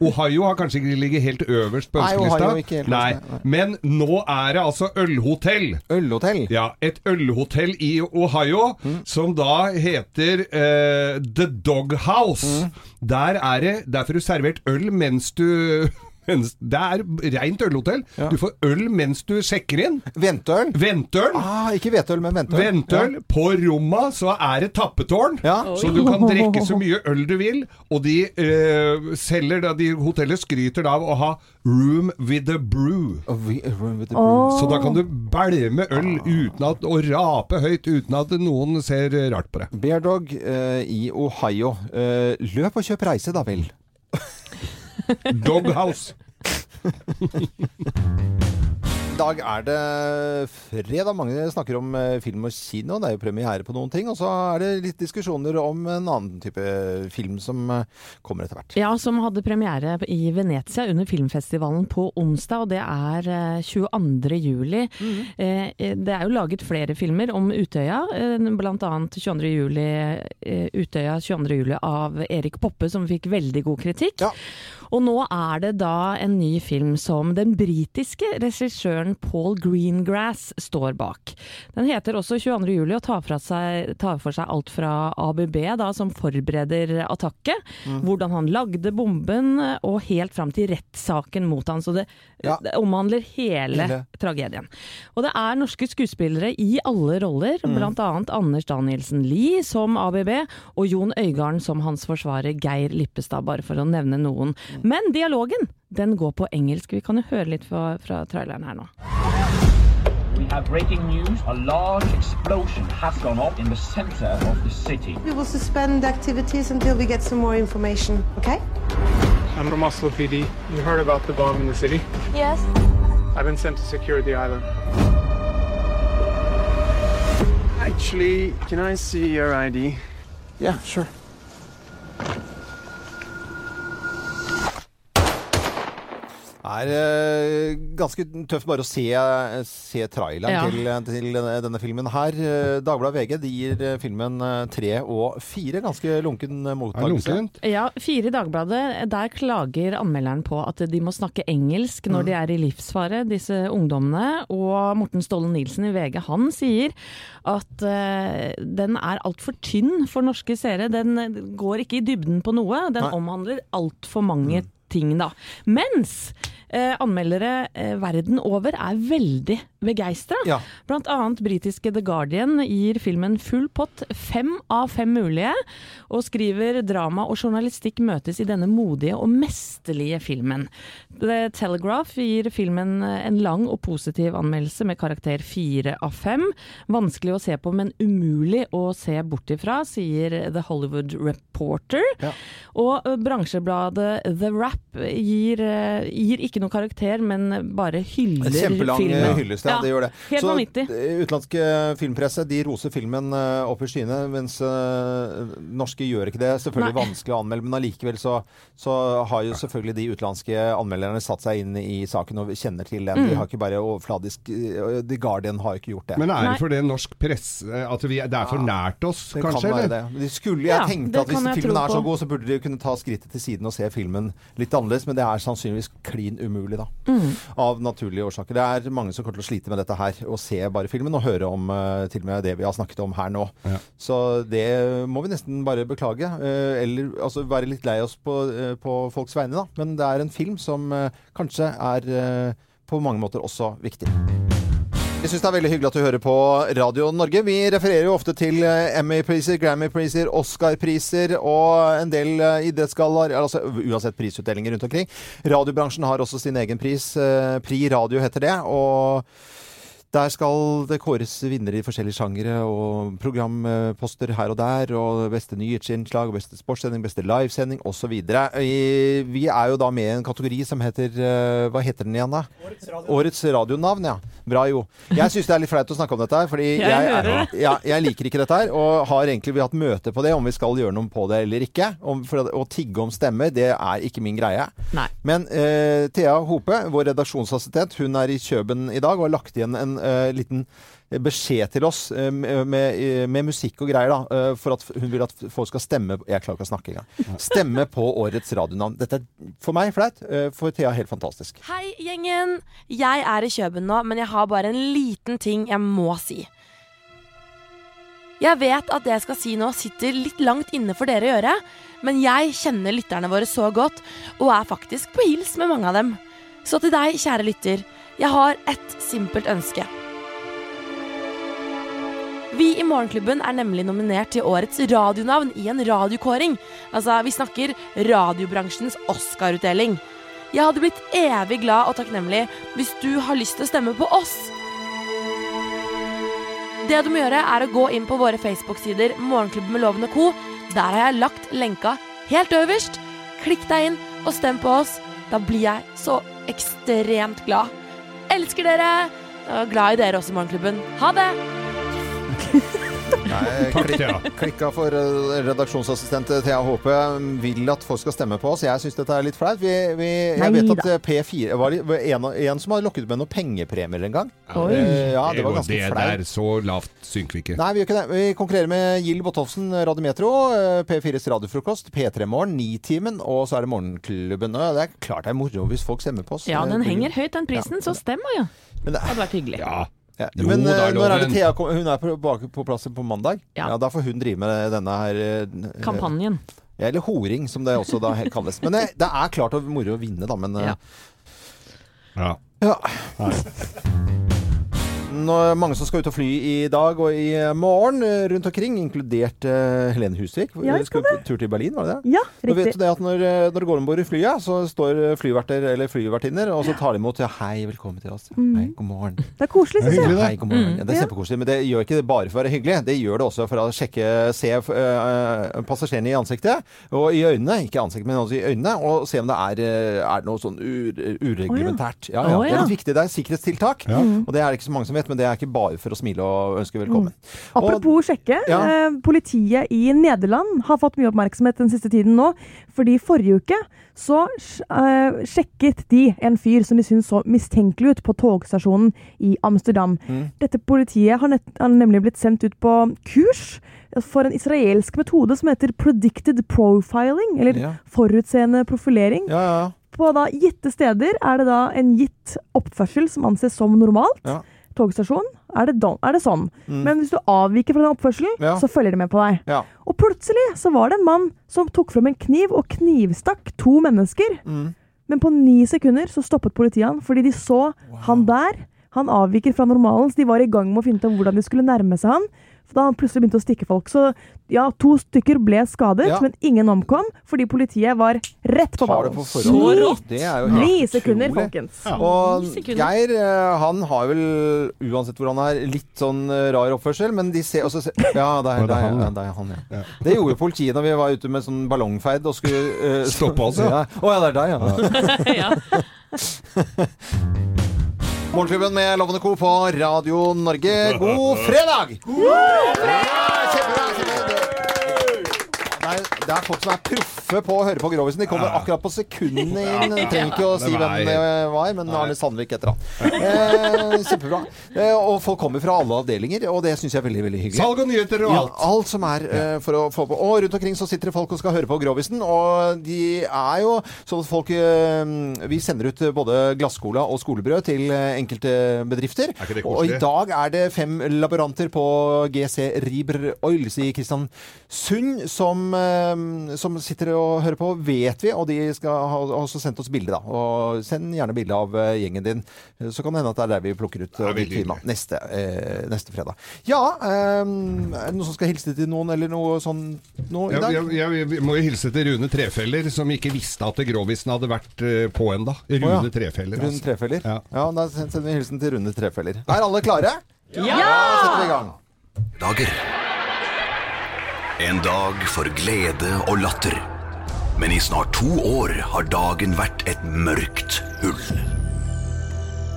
[SPEAKER 4] Ohio har kanskje ikke ligget helt øverst på
[SPEAKER 1] Nei, Ohio
[SPEAKER 4] ønskelista.
[SPEAKER 1] er ikke helt
[SPEAKER 4] Nei, Men nå er det altså ølhotell.
[SPEAKER 1] Ølhotell?
[SPEAKER 4] Ja, et ølhotell i Ohio
[SPEAKER 1] Mm.
[SPEAKER 4] som da heter eh, The Dog
[SPEAKER 1] Mm.
[SPEAKER 4] House. Der er det Derfor er du servert øl mens du <laughs> mens, det er rent ølhotell. Du får øl mens du sjekker inn.
[SPEAKER 1] Venteøl?
[SPEAKER 4] Venteøl.
[SPEAKER 1] Ah, ikke hvetøl, men venteøl.
[SPEAKER 4] Ventøl. På romma så er det tappetårn, så du kan drikke så mye øl du vil. Og de eh, selger da De hotellet skryter da av å ha room with a brew.
[SPEAKER 1] brew.
[SPEAKER 4] Så da kan du bælme øl uten at, og rape høyt uten at noen ser rart
[SPEAKER 1] <laughs>
[SPEAKER 4] på deg.
[SPEAKER 1] Bear Dog eh, i Ohio. Eh, løp og kjøp reise, da vel.
[SPEAKER 4] Doghouse.
[SPEAKER 1] I dag er det fredag. Mange snakker om eh, film og kino. Det er jo premiere på noen ting. Og så er det litt diskusjoner om en annen type film som eh, kommer etter hvert.
[SPEAKER 3] Ja, som hadde premiere i Venezia under filmfestivalen på onsdag, og det er eh, 22. juli. Eh, eh, Det er jo laget flere filmer om Utøya, eh, blant annet 22. Juli, eh, Utøya 22. juli av Erik Poppe, som fikk veldig god kritikk. Og nå er det da en ny film som den britiske regissøren Paul Greengrass står bak. Den heter også 22. juli og tar, fra seg, tar for seg alt fra ABB, da, som forbereder attakket,
[SPEAKER 13] Mm.
[SPEAKER 3] hvordan han lagde bomben, og helt fram til rettssaken mot han. Så det, det omhandler hele
[SPEAKER 13] Hele.
[SPEAKER 3] tragedien. Og det er norske skuespillere i alle roller,
[SPEAKER 13] Mm.
[SPEAKER 3] blant annet Anders Danielsen Lie som ABB, og Jon Øygarden som hans forsvarer Geir Lippestad, bare for å nevne noen.
[SPEAKER 13] Mm.
[SPEAKER 3] Men dialogen, den går på engelsk. Vi kan jo høre litt fra, fra traileren her nå.
[SPEAKER 15] We have breaking news. A large explosion has gone off in the center of the city.
[SPEAKER 16] We will suspend activities until we get some more information, okay?
[SPEAKER 17] I'm from Oslo PD. You heard about the bomb in the city?
[SPEAKER 16] Yes.
[SPEAKER 17] I've been sent to secure the island. Actually, can I see your ID? Yeah, sure.
[SPEAKER 1] Det er eh, ganske tøft bare å se, eh, se traileren
[SPEAKER 3] Ja.
[SPEAKER 1] til, til denne, denne filmen her. Eh, Dagbladet VG de gir eh, filmen eh, tre og fire. Ganske lunken eh, mottakelse.
[SPEAKER 3] Ja, fire i Dagbladet. Der klager anmelderen på at de må snakke engelsk når de er i livsfare, disse ungdommene. Og Morten Ståle Nilsen i VG, han sier at eh, den er altfor tynn for norske seere. Den eh, går ikke i dybden på noe. Den
[SPEAKER 13] Nei.
[SPEAKER 3] omhandler altfor mange ting, da. Mens eh, anmeldere eh, verden over er veldig begeistra. Blant annet britiske The Guardian gir filmen full pott, fem av fem mulige, og skriver drama og journalistikk møtes i denne modige og mesterlige filmen. The Telegraph gir filmen en lang og positiv anmeldelse med karakter fire av fem. Vanskelig å se på, men umulig å se bort ifra, sier The Hollywood Reporter. Og eh, bransjebladet The Wrap gir, eh, gir ikke noe karakter, men bare hyller
[SPEAKER 1] En kjempelang eh,
[SPEAKER 3] filmen.
[SPEAKER 1] hyllest, ja. Det gjør det.
[SPEAKER 3] Helt
[SPEAKER 1] Så
[SPEAKER 3] vanvittig.
[SPEAKER 1] eh, utenlandske filmpresse de roser filmen eh, opp i skyene, mens eh, norske gjør ikke det. Selvfølgelig
[SPEAKER 3] Nei.
[SPEAKER 1] vanskelig å anmelde, men allikevel så, så har jo selvfølgelig de utenlandske anmelderne satt seg inn i saken og kjenner til den.
[SPEAKER 4] Mm.
[SPEAKER 1] De har ikke bare overfladisk eh, The Guardian har ikke gjort det.
[SPEAKER 4] Men er det fordi norsk presse At vi, det er for nært oss,
[SPEAKER 1] Det
[SPEAKER 4] kanskje?
[SPEAKER 1] kan være
[SPEAKER 4] eller?
[SPEAKER 1] det. De skulle, jeg
[SPEAKER 4] Ja, det
[SPEAKER 1] tenkte at
[SPEAKER 4] kan
[SPEAKER 1] hvis
[SPEAKER 4] jeg
[SPEAKER 1] filmen
[SPEAKER 4] tro
[SPEAKER 1] er så
[SPEAKER 4] på.
[SPEAKER 1] god, så burde de kunne ta skrittet til siden og se filmen litt annerledes, men det er sannsynligvis klin umulig, da.
[SPEAKER 4] Mm.
[SPEAKER 1] Av naturlige årsaker. Det er mange som kommer til å slite med dette her, og se bare filmen og høre om eh, til og med det vi har snakket om her nå. Så det må vi nesten bare beklage. eh, eller altså være litt lei oss på, eh, på folks vegne, da. Men det er en film som eh, kanskje er eh, på mange måter også viktig. Jeg syns det er veldig hyggelig at du hører på Radio Norge. Vi refererer jo ofte til eh, Emmy-priser, Grammy-priser, Oscar-priser og en del eh, idrettsgallaer. Altså uansett prisutdelinger rundt omkring. Radiobransjen har også sin egen pris. eh, Pri Radio heter det. og der skal det kåres vinnere i forskjellige sjangere og programposter her og der. Og beste nyhetsinnslag, beste sportssending, beste livesending osv. Vi er jo da med i en kategori som heter eh, Hva heter den igjen, da? Årets, radionavn, ja. Bra, jo. Jeg syns det er litt flaut å snakke om dette her, fordi
[SPEAKER 14] Jeg
[SPEAKER 1] jeg, er,
[SPEAKER 14] hører det.
[SPEAKER 1] ja, jeg liker ikke dette her. Og har egentlig vi har hatt møte på det, om vi skal gjøre noe på det eller ikke. Om, for å tigge om stemmer, det er ikke min greie.
[SPEAKER 3] Nei.
[SPEAKER 1] Men eh, Thea Hope, vår redaksjonsassistent, hun er i Kjøben i dag og har lagt igjen en eh, liten beskjed til oss eh, med, med, med musikk og greier, da, eh, for at hun vil at folk skal stemme Jeg klarer ikke å snakke engang. Stemme på årets radionavn. Dette er for meg flaut, eh, for Thea helt fantastisk.
[SPEAKER 18] Hei, gjengen. Jeg er i Kjøben nå, men jeg har bare en liten ting jeg må si. Jeg vet at det jeg skal si nå, sitter litt langt inne for dere i øret, men jeg kjenner lytterne våre så godt, og er faktisk på hils med mange av dem. Så til deg, kjære lytter, jeg har ett simpelt ønske. Vi i Morgenklubben er nemlig nominert til årets radionavn i en radiokåring. Altså, vi snakker radiobransjens Oscar-utdeling. Jeg hadde blitt evig glad og takknemlig hvis du har lyst til å stemme på oss. Det du må gjøre, er å gå inn på våre Facebook-sider Morgenklubben med Loven og Co. Der har jeg lagt lenka helt øverst. Klikk deg inn og stem på oss. Da blir jeg så ekstremt glad. Elsker dere! Og glad i dere også, Morgenklubben. Ha det!
[SPEAKER 4] Eh,
[SPEAKER 1] Nei, klikk, klikka for eh, redaksjonsassistent Thea Håpe vil at folk skal stemme på oss. Jeg syns dette er litt flaut. Vi, vi, jeg vet at eh, P4 var det var en, en som hadde lokket med noen pengepremier en gang. Eh, Ja, det var ganske
[SPEAKER 4] Det
[SPEAKER 1] flaut.
[SPEAKER 4] der, så lavt synker vi ikke.
[SPEAKER 1] Nei, vi gjør ikke det. Vi konkurrerer med Gild Botolfsen, Radiometro, eh, P4s radiofrokost, P3 Morgen, Nitimen, og så er det Morgenklubben. Og Det er klart det er moro hvis folk stemmer på oss. eh,
[SPEAKER 3] Ja,
[SPEAKER 1] Det
[SPEAKER 3] den
[SPEAKER 1] blir jo-
[SPEAKER 3] henger høyt, den prisen, så stem, ja.
[SPEAKER 1] Men det
[SPEAKER 3] hadde vært hyggelig.
[SPEAKER 1] Ja,
[SPEAKER 3] Jo
[SPEAKER 1] men
[SPEAKER 3] da,
[SPEAKER 1] eh, når er det
[SPEAKER 3] loven.
[SPEAKER 1] Thea kom- Hun er på, bak- på plass på mandag. Ja. Da får hun drive med denne her eh,
[SPEAKER 3] Kampanjen.
[SPEAKER 1] eh, Eller horing, som det også da he- kalles. Men eh, det, det er klart og moro å vinne, da. Men eh,
[SPEAKER 3] Ja.
[SPEAKER 4] Ja.
[SPEAKER 1] Nå er det mange som skal ut og fly i dag og i morgen eh, rundt omkring, inkludert eh, Helene Husvik.
[SPEAKER 14] Ja, jeg skal
[SPEAKER 1] Skulle på tur til Berlin, var det det?
[SPEAKER 14] Ja,
[SPEAKER 1] Nå vet
[SPEAKER 14] riktig.
[SPEAKER 1] du det at når, eh, når du går om bord i flyet, så står eh, flyverter eller flyvertinner, og så tar de imot ja, 'hei, velkommen til oss',
[SPEAKER 14] Mm.
[SPEAKER 1] 'hei, god morgen'.
[SPEAKER 14] Det er koselig, synes jeg.
[SPEAKER 1] Hei, god morgen.
[SPEAKER 14] Mm.
[SPEAKER 1] Ja, det er
[SPEAKER 14] Ja.
[SPEAKER 1] kjempekoselig. Men det gjør ikke det bare for å være hyggelig, det gjør det også for å sjekke, se eh, passasjerene i ansiktet, og i øynene, ikke i ansiktet, men også i øynene, og se om det er, eh, er det noe sånn ur, ureglementært. Ja, ja.
[SPEAKER 14] Å,
[SPEAKER 1] Det
[SPEAKER 14] ja.
[SPEAKER 1] er litt viktig, det er et sikkerhetstiltak,
[SPEAKER 14] Ja. Mm.
[SPEAKER 1] og det er det ikke så mange som vet, men det er ikke bare for å smile og ønske velkommen.
[SPEAKER 5] Apropos sjekke.
[SPEAKER 1] Ja.
[SPEAKER 5] Eh, politiet i Nederland har fått mye oppmerksomhet den siste tiden nå. Fordi forrige uke så sj- eh, sjekket de en fyr som de syntes så mistenkelig ut på togstasjonen i Amsterdam.
[SPEAKER 13] Mm.
[SPEAKER 5] Dette politiet har, nett, har nemlig blitt sendt ut på kurs for en israelsk metode som heter predicted profiling, eller
[SPEAKER 13] Ja.
[SPEAKER 5] forutseende profilering. På da gitte steder er det da en gitt oppførsel som anses som normalt
[SPEAKER 13] Ja.
[SPEAKER 5] togstasjon, er det, don, er det sånn.
[SPEAKER 13] Mm.
[SPEAKER 5] Men hvis du avviker fra den oppførselen,
[SPEAKER 13] Ja.
[SPEAKER 5] så følger det med på deg.
[SPEAKER 1] Ja.
[SPEAKER 5] Og plutselig så var det en mann som tok frem en kniv og knivstakk to mennesker. Men på ni sekunder så stoppet politiet han, fordi de så han der. Han avviker fra normalen, så de var i gang med å finne ut av hvordan de skulle nærme seg han. For da han plutselig begynte å stikke folk. Så ja, to stykker ble skadet,
[SPEAKER 1] Ja.
[SPEAKER 5] men ingen omkom, fordi politiet var rett på
[SPEAKER 1] Tar det
[SPEAKER 5] ballen.
[SPEAKER 1] på forhånd. Det er jo helt
[SPEAKER 5] Ni sekunder,
[SPEAKER 1] utrolig.
[SPEAKER 5] folkens.
[SPEAKER 1] Og
[SPEAKER 5] Ni sekunder.
[SPEAKER 1] Geir eh, han har vel, uansett hvor han er, litt sånn eh, rar oppførsel, men de ser også ser, Ja, det er, det er, ja, det er han, ja. Det gjorde politiet da vi var ute med sånn ballongferd og skulle <laughs> eh,
[SPEAKER 4] Stoppe oss, ja.
[SPEAKER 1] Å ja, det er deg, ja. <laughs> Morgenklubben med Lovende Co. på Radio Norge, god fredag! Nei, det er folk som er proffe på å høre på Grovisen. De kommer akkurat på sekundene inn. Jeg trenger ikke å
[SPEAKER 14] Ja,
[SPEAKER 1] si
[SPEAKER 14] det var
[SPEAKER 1] hvem det eh, var, men Arne Sandvik heter han. Eh, kjempebra. Eh, og folk kommer fra alle avdelinger, og det syns jeg er veldig veldig hyggelig.
[SPEAKER 4] Salg og nyheter og
[SPEAKER 1] Ja,
[SPEAKER 4] alt.
[SPEAKER 1] alt som er eh, for å få på. Og rundt omkring så sitter det folk og skal høre på Grovisen, og de er jo sånn at folk eh, Vi sender ut både glasskola og skolebrød til eh, enkelte bedrifter.
[SPEAKER 14] ikke det
[SPEAKER 1] og i
[SPEAKER 14] koselig?
[SPEAKER 1] dag er det fem laboranter på GC Riber Oils i Kristiansund som, eh, som sitter og hører på, vet vi. Og de skal ha har også sendt oss bilde, da. Og send gjerne bilde av eh, gjengen din. Eh, Så kan det hende at det er der vi plukker ut eh,
[SPEAKER 14] Det er
[SPEAKER 1] de
[SPEAKER 14] veldig
[SPEAKER 1] firma neste, eh, neste fredag. Ja, ehm, er det noen som skal hilse til noen, eller noe sånn nå i
[SPEAKER 4] Jeg,
[SPEAKER 1] dag?
[SPEAKER 4] jeg, jeg, vi må jo hilse til Rune Trefeller, som ikke visste at Grovisen hadde vært eh, på ennå. Rune
[SPEAKER 1] Å, ja.
[SPEAKER 4] Trefeller. altså.
[SPEAKER 1] Rune Trefeller.
[SPEAKER 4] Ja.
[SPEAKER 1] Ja, da sender vi hilsen til Rune Trefeller. Er alle klare?
[SPEAKER 9] Ja!
[SPEAKER 1] Da setter vi i gang.
[SPEAKER 9] Dager. En dag for glede og latter. Men i snart to år har dagen vært et mørkt hull.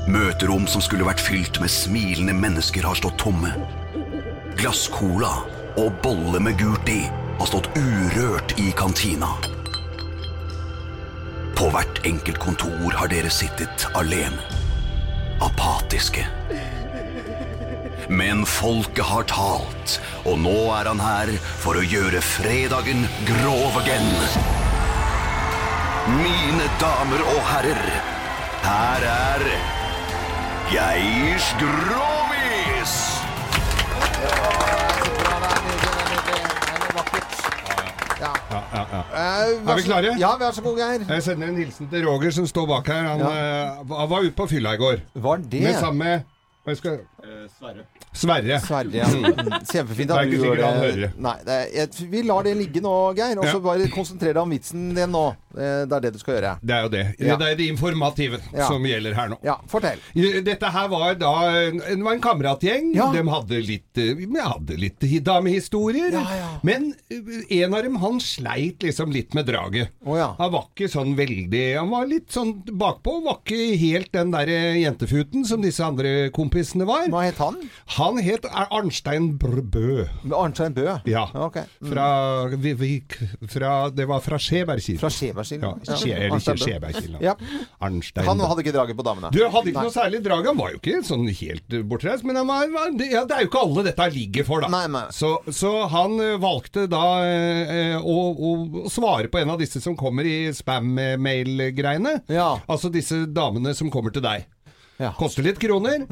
[SPEAKER 9] Møterom som skulle vært fylt med smilende mennesker, har stått tomme. Glasscola og bolle med gult i har stått urørt i kantina. På hvert enkelt kontor har dere sittet alene. Apatiske. Men folket har talt, og nå er han her for å gjøre fredagen grov again. Mine damer og herrer, her er Geirs Grovis!
[SPEAKER 1] Ja.
[SPEAKER 4] Ja, ja, ja.
[SPEAKER 1] Eh, vær
[SPEAKER 4] Er vi
[SPEAKER 1] så-
[SPEAKER 4] klare?
[SPEAKER 1] Ja, vær så god, Geir.
[SPEAKER 4] Jeg sender en hilsen til eh, Roger, som står bak her. Han eh, var- var ute på fylla i går.
[SPEAKER 1] Var det?
[SPEAKER 4] Med samme hva skal,
[SPEAKER 13] Sverre.
[SPEAKER 4] Sverre.
[SPEAKER 1] Sverre, ja.
[SPEAKER 4] Mm.
[SPEAKER 1] Mm. Kjempefint
[SPEAKER 4] Det er
[SPEAKER 1] at
[SPEAKER 4] ikke
[SPEAKER 1] du gjør
[SPEAKER 4] sikkert han
[SPEAKER 1] det.
[SPEAKER 4] hører.
[SPEAKER 1] Nei, det er, jeg, vi lar det ligge nå, Geir. Og så bare konsentrer deg om vitsen din nå. Eh, Det er det du skal gjøre.
[SPEAKER 4] Det er jo det.
[SPEAKER 1] Ja.
[SPEAKER 4] Det er det informative
[SPEAKER 1] Ja.
[SPEAKER 4] som gjelder her nå.
[SPEAKER 1] Ja, fortell.
[SPEAKER 4] Dette her var da en, det var en kameratgjeng. De hadde litt, eh, vi hadde litt hi- damehistorier. Men eh, en av dem han sleit liksom litt med draget. Han var ikke sånn veldig Han var litt sånn bakpå. Var ikke helt den der eh, jentefuten som disse andre kompisene var.
[SPEAKER 1] Hva het han?
[SPEAKER 4] Han het eh, Arnstein Br- Bø.
[SPEAKER 1] Arnstein Bø?
[SPEAKER 4] Ja.
[SPEAKER 1] Mm.
[SPEAKER 4] Fra vi, vi, fra, Det var fra Skjebergkilen. Fra
[SPEAKER 1] Skjebergkilen.
[SPEAKER 4] Ja, Skje, eller ikke
[SPEAKER 1] Arnstein Bø.
[SPEAKER 4] Skjebergkilen.
[SPEAKER 1] Ja.
[SPEAKER 4] Arnstein
[SPEAKER 1] Han
[SPEAKER 4] Bø.
[SPEAKER 1] hadde ikke draget på damene.
[SPEAKER 4] Du hadde ikke
[SPEAKER 1] Nei.
[SPEAKER 4] noe særlig drag. Han var jo ikke sånn helt eh, bortreist, men han var, var, det, ja, det er jo ikke alle dette ligger for, da. Så, så han eh, valgte da eh, eh, å, å, å svare på en av disse som kommer i spam-mail-greiene. Altså disse damene som kommer til deg. Koster litt kroner.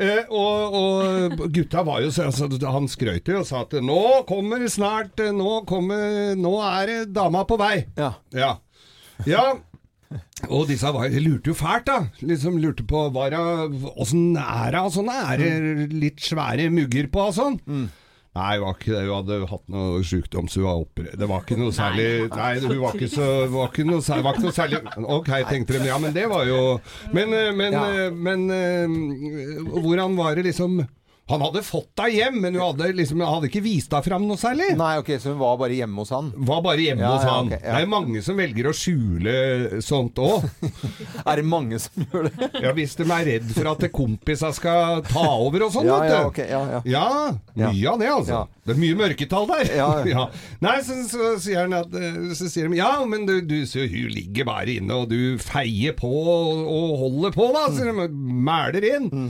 [SPEAKER 4] Eh, og, og gutta var jo så altså, Han skrøt jo og sa at 'nå kommer snart eh, Nå, kommer, nå er det dama på vei'. Ja. ja. Og disse var, lurte jo fælt, da. Liksom lurte på var det- åssen er det og sånn. Er det litt svære mugger på og sånn? Nei, det var ikke det. hun hadde hatt noe sjukdom, så hun var oppre... Det var ikke noe særlig Nei, hun var ikke så var ikke noe, sær- var ikke noe særlig Ok, tenkte de. Ja, men det var jo Men, eh, men,
[SPEAKER 8] Ja.
[SPEAKER 4] eh, men eh, hvordan var det liksom han hadde fått deg hjem, men hun hadde, liksom, han hadde ikke vist deg fram noe særlig.
[SPEAKER 1] Nei, ok, Så hun var bare hjemme hos han?
[SPEAKER 4] Var bare hjemme
[SPEAKER 1] Ja,
[SPEAKER 4] hos
[SPEAKER 1] ja,
[SPEAKER 4] han.
[SPEAKER 1] ok, ja.
[SPEAKER 4] Det er mange som velger å skjule sånt òg.
[SPEAKER 1] <laughs> er det mange som gjør det?
[SPEAKER 4] Ja, Hvis de er redd for at kompisa skal ta over og sånn,
[SPEAKER 1] Ja,
[SPEAKER 4] vet du.
[SPEAKER 1] ja, ok, ja, ja.
[SPEAKER 4] mye av det, altså.
[SPEAKER 1] Ja.
[SPEAKER 4] Det er mye mørketall der. <laughs>
[SPEAKER 1] Ja, ja.
[SPEAKER 4] Nei, så, så, sier han at, eh, så sier de ja, men du, du så hun ligger bare inne, og du feier på og, og holder på, da. Så
[SPEAKER 1] Mm.
[SPEAKER 4] de mæler inn.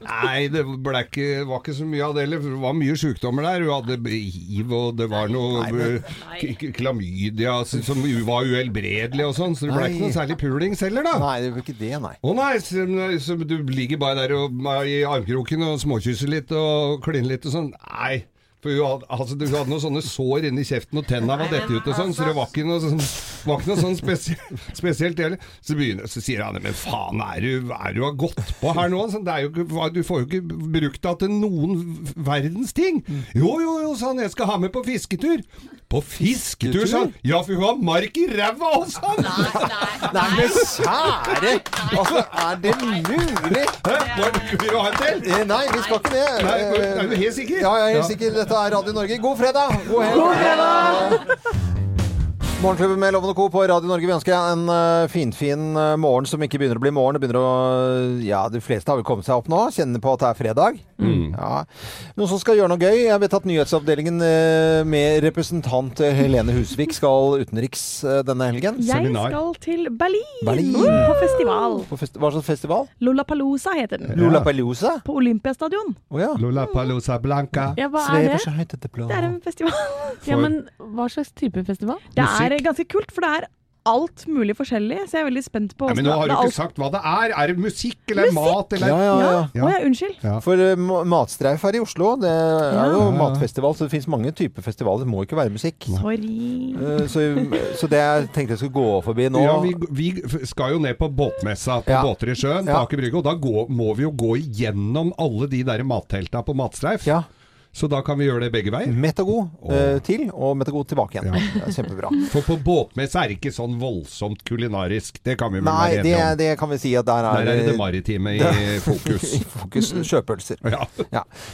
[SPEAKER 4] Nei, det ble ikke, var ikke så mye av det heller. for Det var mye sykdommer der. Hun hadde hiv, og det var noe eh, k- k- klamydia som som var uhelbredelig og sånn, så det ble ikke noe
[SPEAKER 1] Nei.
[SPEAKER 4] særlig pulings heller, da.
[SPEAKER 1] Nei, det var ikke det, nei.
[SPEAKER 4] Å nei, så, så du ligger bare der og, i armkroken og småkysser litt og kliner litt og sånn. Nei. For hun hadde, altså, du hadde noen sånne sår inni kjeften, og tenna var dette ut og sånn, så det var ikke noe sånn, var ikke noe sånn spesielt, <laughs> spesielt heller. Så, begynner, så sier han men faen, er du, er du har gått på her nå? Så det er jo, ikke- hva- du får jo ikke brukt deg til noen verdens ting. Jo, jo, jo, sa han, jeg skal ha med på fisketur. På fisketur, sa han? Ja, for hun har mark i ræva også!
[SPEAKER 1] Nei, men kjære! Altså, er det mulig?
[SPEAKER 4] Vil du ha en til?
[SPEAKER 1] Nei, vi skal ikke det.
[SPEAKER 4] Nei, er du helt sikker?
[SPEAKER 1] Ja, jeg er
[SPEAKER 4] Ja.
[SPEAKER 1] helt sikker. Dette er Radio Norge. God fredag! God helg! Morgenklubben med Loven og Co. på Radio Norge. Vi ønsker deg en eh, finfin eh, morgen som ikke begynner å bli morgen. Det begynner å Ja, de fleste har vel kommet seg opp nå. Kjenner på at det er fredag. Ja. Noen som skal gjøre noe gøy. Jeg vet at nyhetsavdelingen eh, med representant eh, Helene Husvik skal utenriks eh, denne helgen.
[SPEAKER 2] Jeg skal til Berlin,
[SPEAKER 1] Berlin.
[SPEAKER 2] på festival.
[SPEAKER 1] På fest hva slags festival?
[SPEAKER 2] Lollapalooza heter den.
[SPEAKER 1] Lollapalooza?
[SPEAKER 2] På Olympiastadion.
[SPEAKER 1] Oh, ja.
[SPEAKER 4] Lollapalooza Blanca.
[SPEAKER 2] Ja, hva er det?
[SPEAKER 1] Det
[SPEAKER 2] er en festival.
[SPEAKER 4] Ja, men
[SPEAKER 2] hva slags type festival? Det er
[SPEAKER 4] Musikk?
[SPEAKER 2] ganske kult, for det er alt mulig forskjellig, så jeg er veldig spent på
[SPEAKER 4] Nei, men nå
[SPEAKER 2] hvordan-
[SPEAKER 4] har du
[SPEAKER 2] det er
[SPEAKER 4] ikke
[SPEAKER 2] alt-
[SPEAKER 4] sagt hva det er. Er det musikk eller
[SPEAKER 2] Musikk?
[SPEAKER 4] mat eller
[SPEAKER 1] Ja, ja, ja.
[SPEAKER 2] Å ja, unnskyld.
[SPEAKER 1] For eh, ma- Matstreif her i Oslo, det
[SPEAKER 2] Ja.
[SPEAKER 1] er jo
[SPEAKER 2] Ja, ja.
[SPEAKER 1] matfestival, så det fins mange typer festivaler. Det må ikke være musikk. Eh, Så, så det jeg tenkte jeg skulle gå forbi nå
[SPEAKER 4] Ja, vi, vi f- skal jo ned på båtmessa på
[SPEAKER 1] Ja.
[SPEAKER 4] Båter i sjøen, på
[SPEAKER 1] Ja.
[SPEAKER 4] Aker Brygge, og da gå, må vi jo gå igjennom alle de der mattelta på Matstreif. Så da kan vi gjøre det begge veier.
[SPEAKER 1] Metago eh, til, og Metago tilbake igjen. Det er kjempebra.
[SPEAKER 4] For på båtmessa er det ikke sånn voldsomt kulinarisk, det kan vi vel
[SPEAKER 1] Nei,
[SPEAKER 4] være
[SPEAKER 1] det,
[SPEAKER 4] enige om.
[SPEAKER 1] det kan vi si at der er
[SPEAKER 4] Der er det det maritime i
[SPEAKER 1] <laughs>
[SPEAKER 4] fokus.
[SPEAKER 1] I fokus sjøpølser.
[SPEAKER 4] Ja.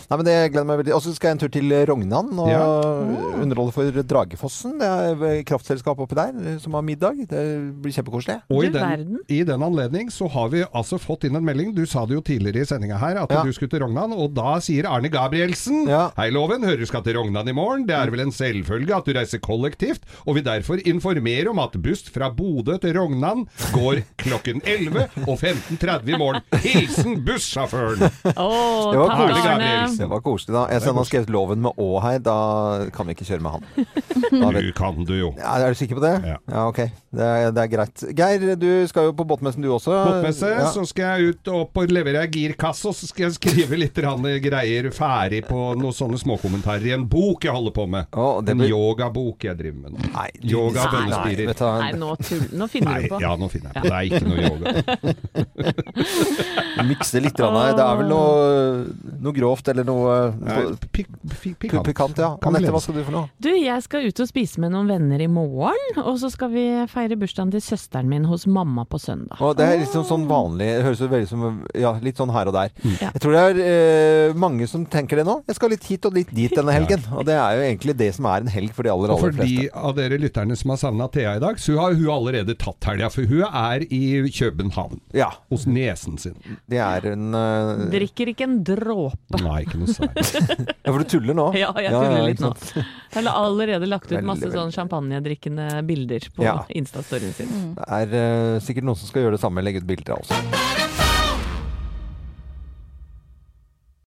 [SPEAKER 1] Nei, men det gleder jeg meg veldig. Og så skal jeg en tur til Rognan og
[SPEAKER 4] Ja.
[SPEAKER 1] underholde for Dragefossen. Det er eh, kraftselskap oppi der eh, som har middag. Det blir kjempekoselig.
[SPEAKER 4] Og i den, i den anledning så har vi altså fått inn en melding, du sa det jo tidligere i sendinga her, at
[SPEAKER 1] Ja.
[SPEAKER 4] du skulle til Rognan, og da sier Arne Gabrielsen Hei Loven, hører du skal til Rognan i morgen, det er vel en selvfølge at du reiser kollektivt, og vil derfor informere om at buss fra Bodø til Rognan går klokken 11 og 15.30 i morgen. Hilsen bussjåføren!
[SPEAKER 1] Det var,
[SPEAKER 4] Arne
[SPEAKER 1] koselig. det
[SPEAKER 4] Gabrielsen.
[SPEAKER 1] var koselig, da. Jeg sender han skrevet loven med Å her, da kan vi ikke kjøre med
[SPEAKER 4] <laughs>
[SPEAKER 1] han. Da
[SPEAKER 4] Du kan du jo.
[SPEAKER 1] Ja, er du sikker på det? Ja, ok. Det er, det er greit. Geir, du skal jo på båtmessen du også.
[SPEAKER 4] Båtmesse,
[SPEAKER 1] Ja.
[SPEAKER 4] så skal jeg ut opp og levere ei girkasse, og så skal jeg skrive litt rann greier ferdig på noen sånne småkommentarer i en bok jeg holder på med. En yogabok jeg driver med nå. Yoga,
[SPEAKER 3] Nei,
[SPEAKER 4] bønnespirer.
[SPEAKER 3] Nei, nå, tull, nå finner
[SPEAKER 4] Nei,
[SPEAKER 3] du på.
[SPEAKER 1] <laughs>
[SPEAKER 4] ja, nå finner jeg på. Det er ikke noe yoga.
[SPEAKER 1] Mikse litt. Grann. her. Det er vel noe, noe grovt eller noe
[SPEAKER 4] pikant.
[SPEAKER 1] pikant ja. Anette, hva skal du for noe?
[SPEAKER 3] Du, jeg skal ut og spise med noen venner i morgen, og så skal vi feire bursdagen til søsteren min hos mamma på søndag.
[SPEAKER 1] Og det er liksom sånn vanlig Det høres jo veldig som ja, litt sånn her og der.
[SPEAKER 4] Mm.
[SPEAKER 1] Jeg tror det er eh, mange som tenker det nå. Jeg skal litt hit og litt dit denne helgen. Og det er jo egentlig det som er en helg for de aller,
[SPEAKER 4] Og for
[SPEAKER 1] aller fleste.
[SPEAKER 4] de av dere lytterne som har savna Thea i dag, så har hun allerede tatt helga. For hun er i København. Hos niesen sin.
[SPEAKER 1] Det er en Eh.
[SPEAKER 3] Drikker ikke en dråpe.
[SPEAKER 4] Nei, ikke noe særlig.
[SPEAKER 1] Ja, for du tuller nå?
[SPEAKER 3] <laughs> Ja, jeg
[SPEAKER 1] Ja, ja,
[SPEAKER 3] tuller litt
[SPEAKER 1] ikke
[SPEAKER 3] nå.
[SPEAKER 1] sant.
[SPEAKER 3] Jeg har allerede lagt ut
[SPEAKER 1] Veldig,
[SPEAKER 3] masse
[SPEAKER 1] veldig.
[SPEAKER 3] sånn champagnedrikkende bilder på
[SPEAKER 1] Ja.
[SPEAKER 3] Insta-storyen sin.
[SPEAKER 1] Det er eh, sikkert noen som skal gjøre det samme, legge ut bilder av oss.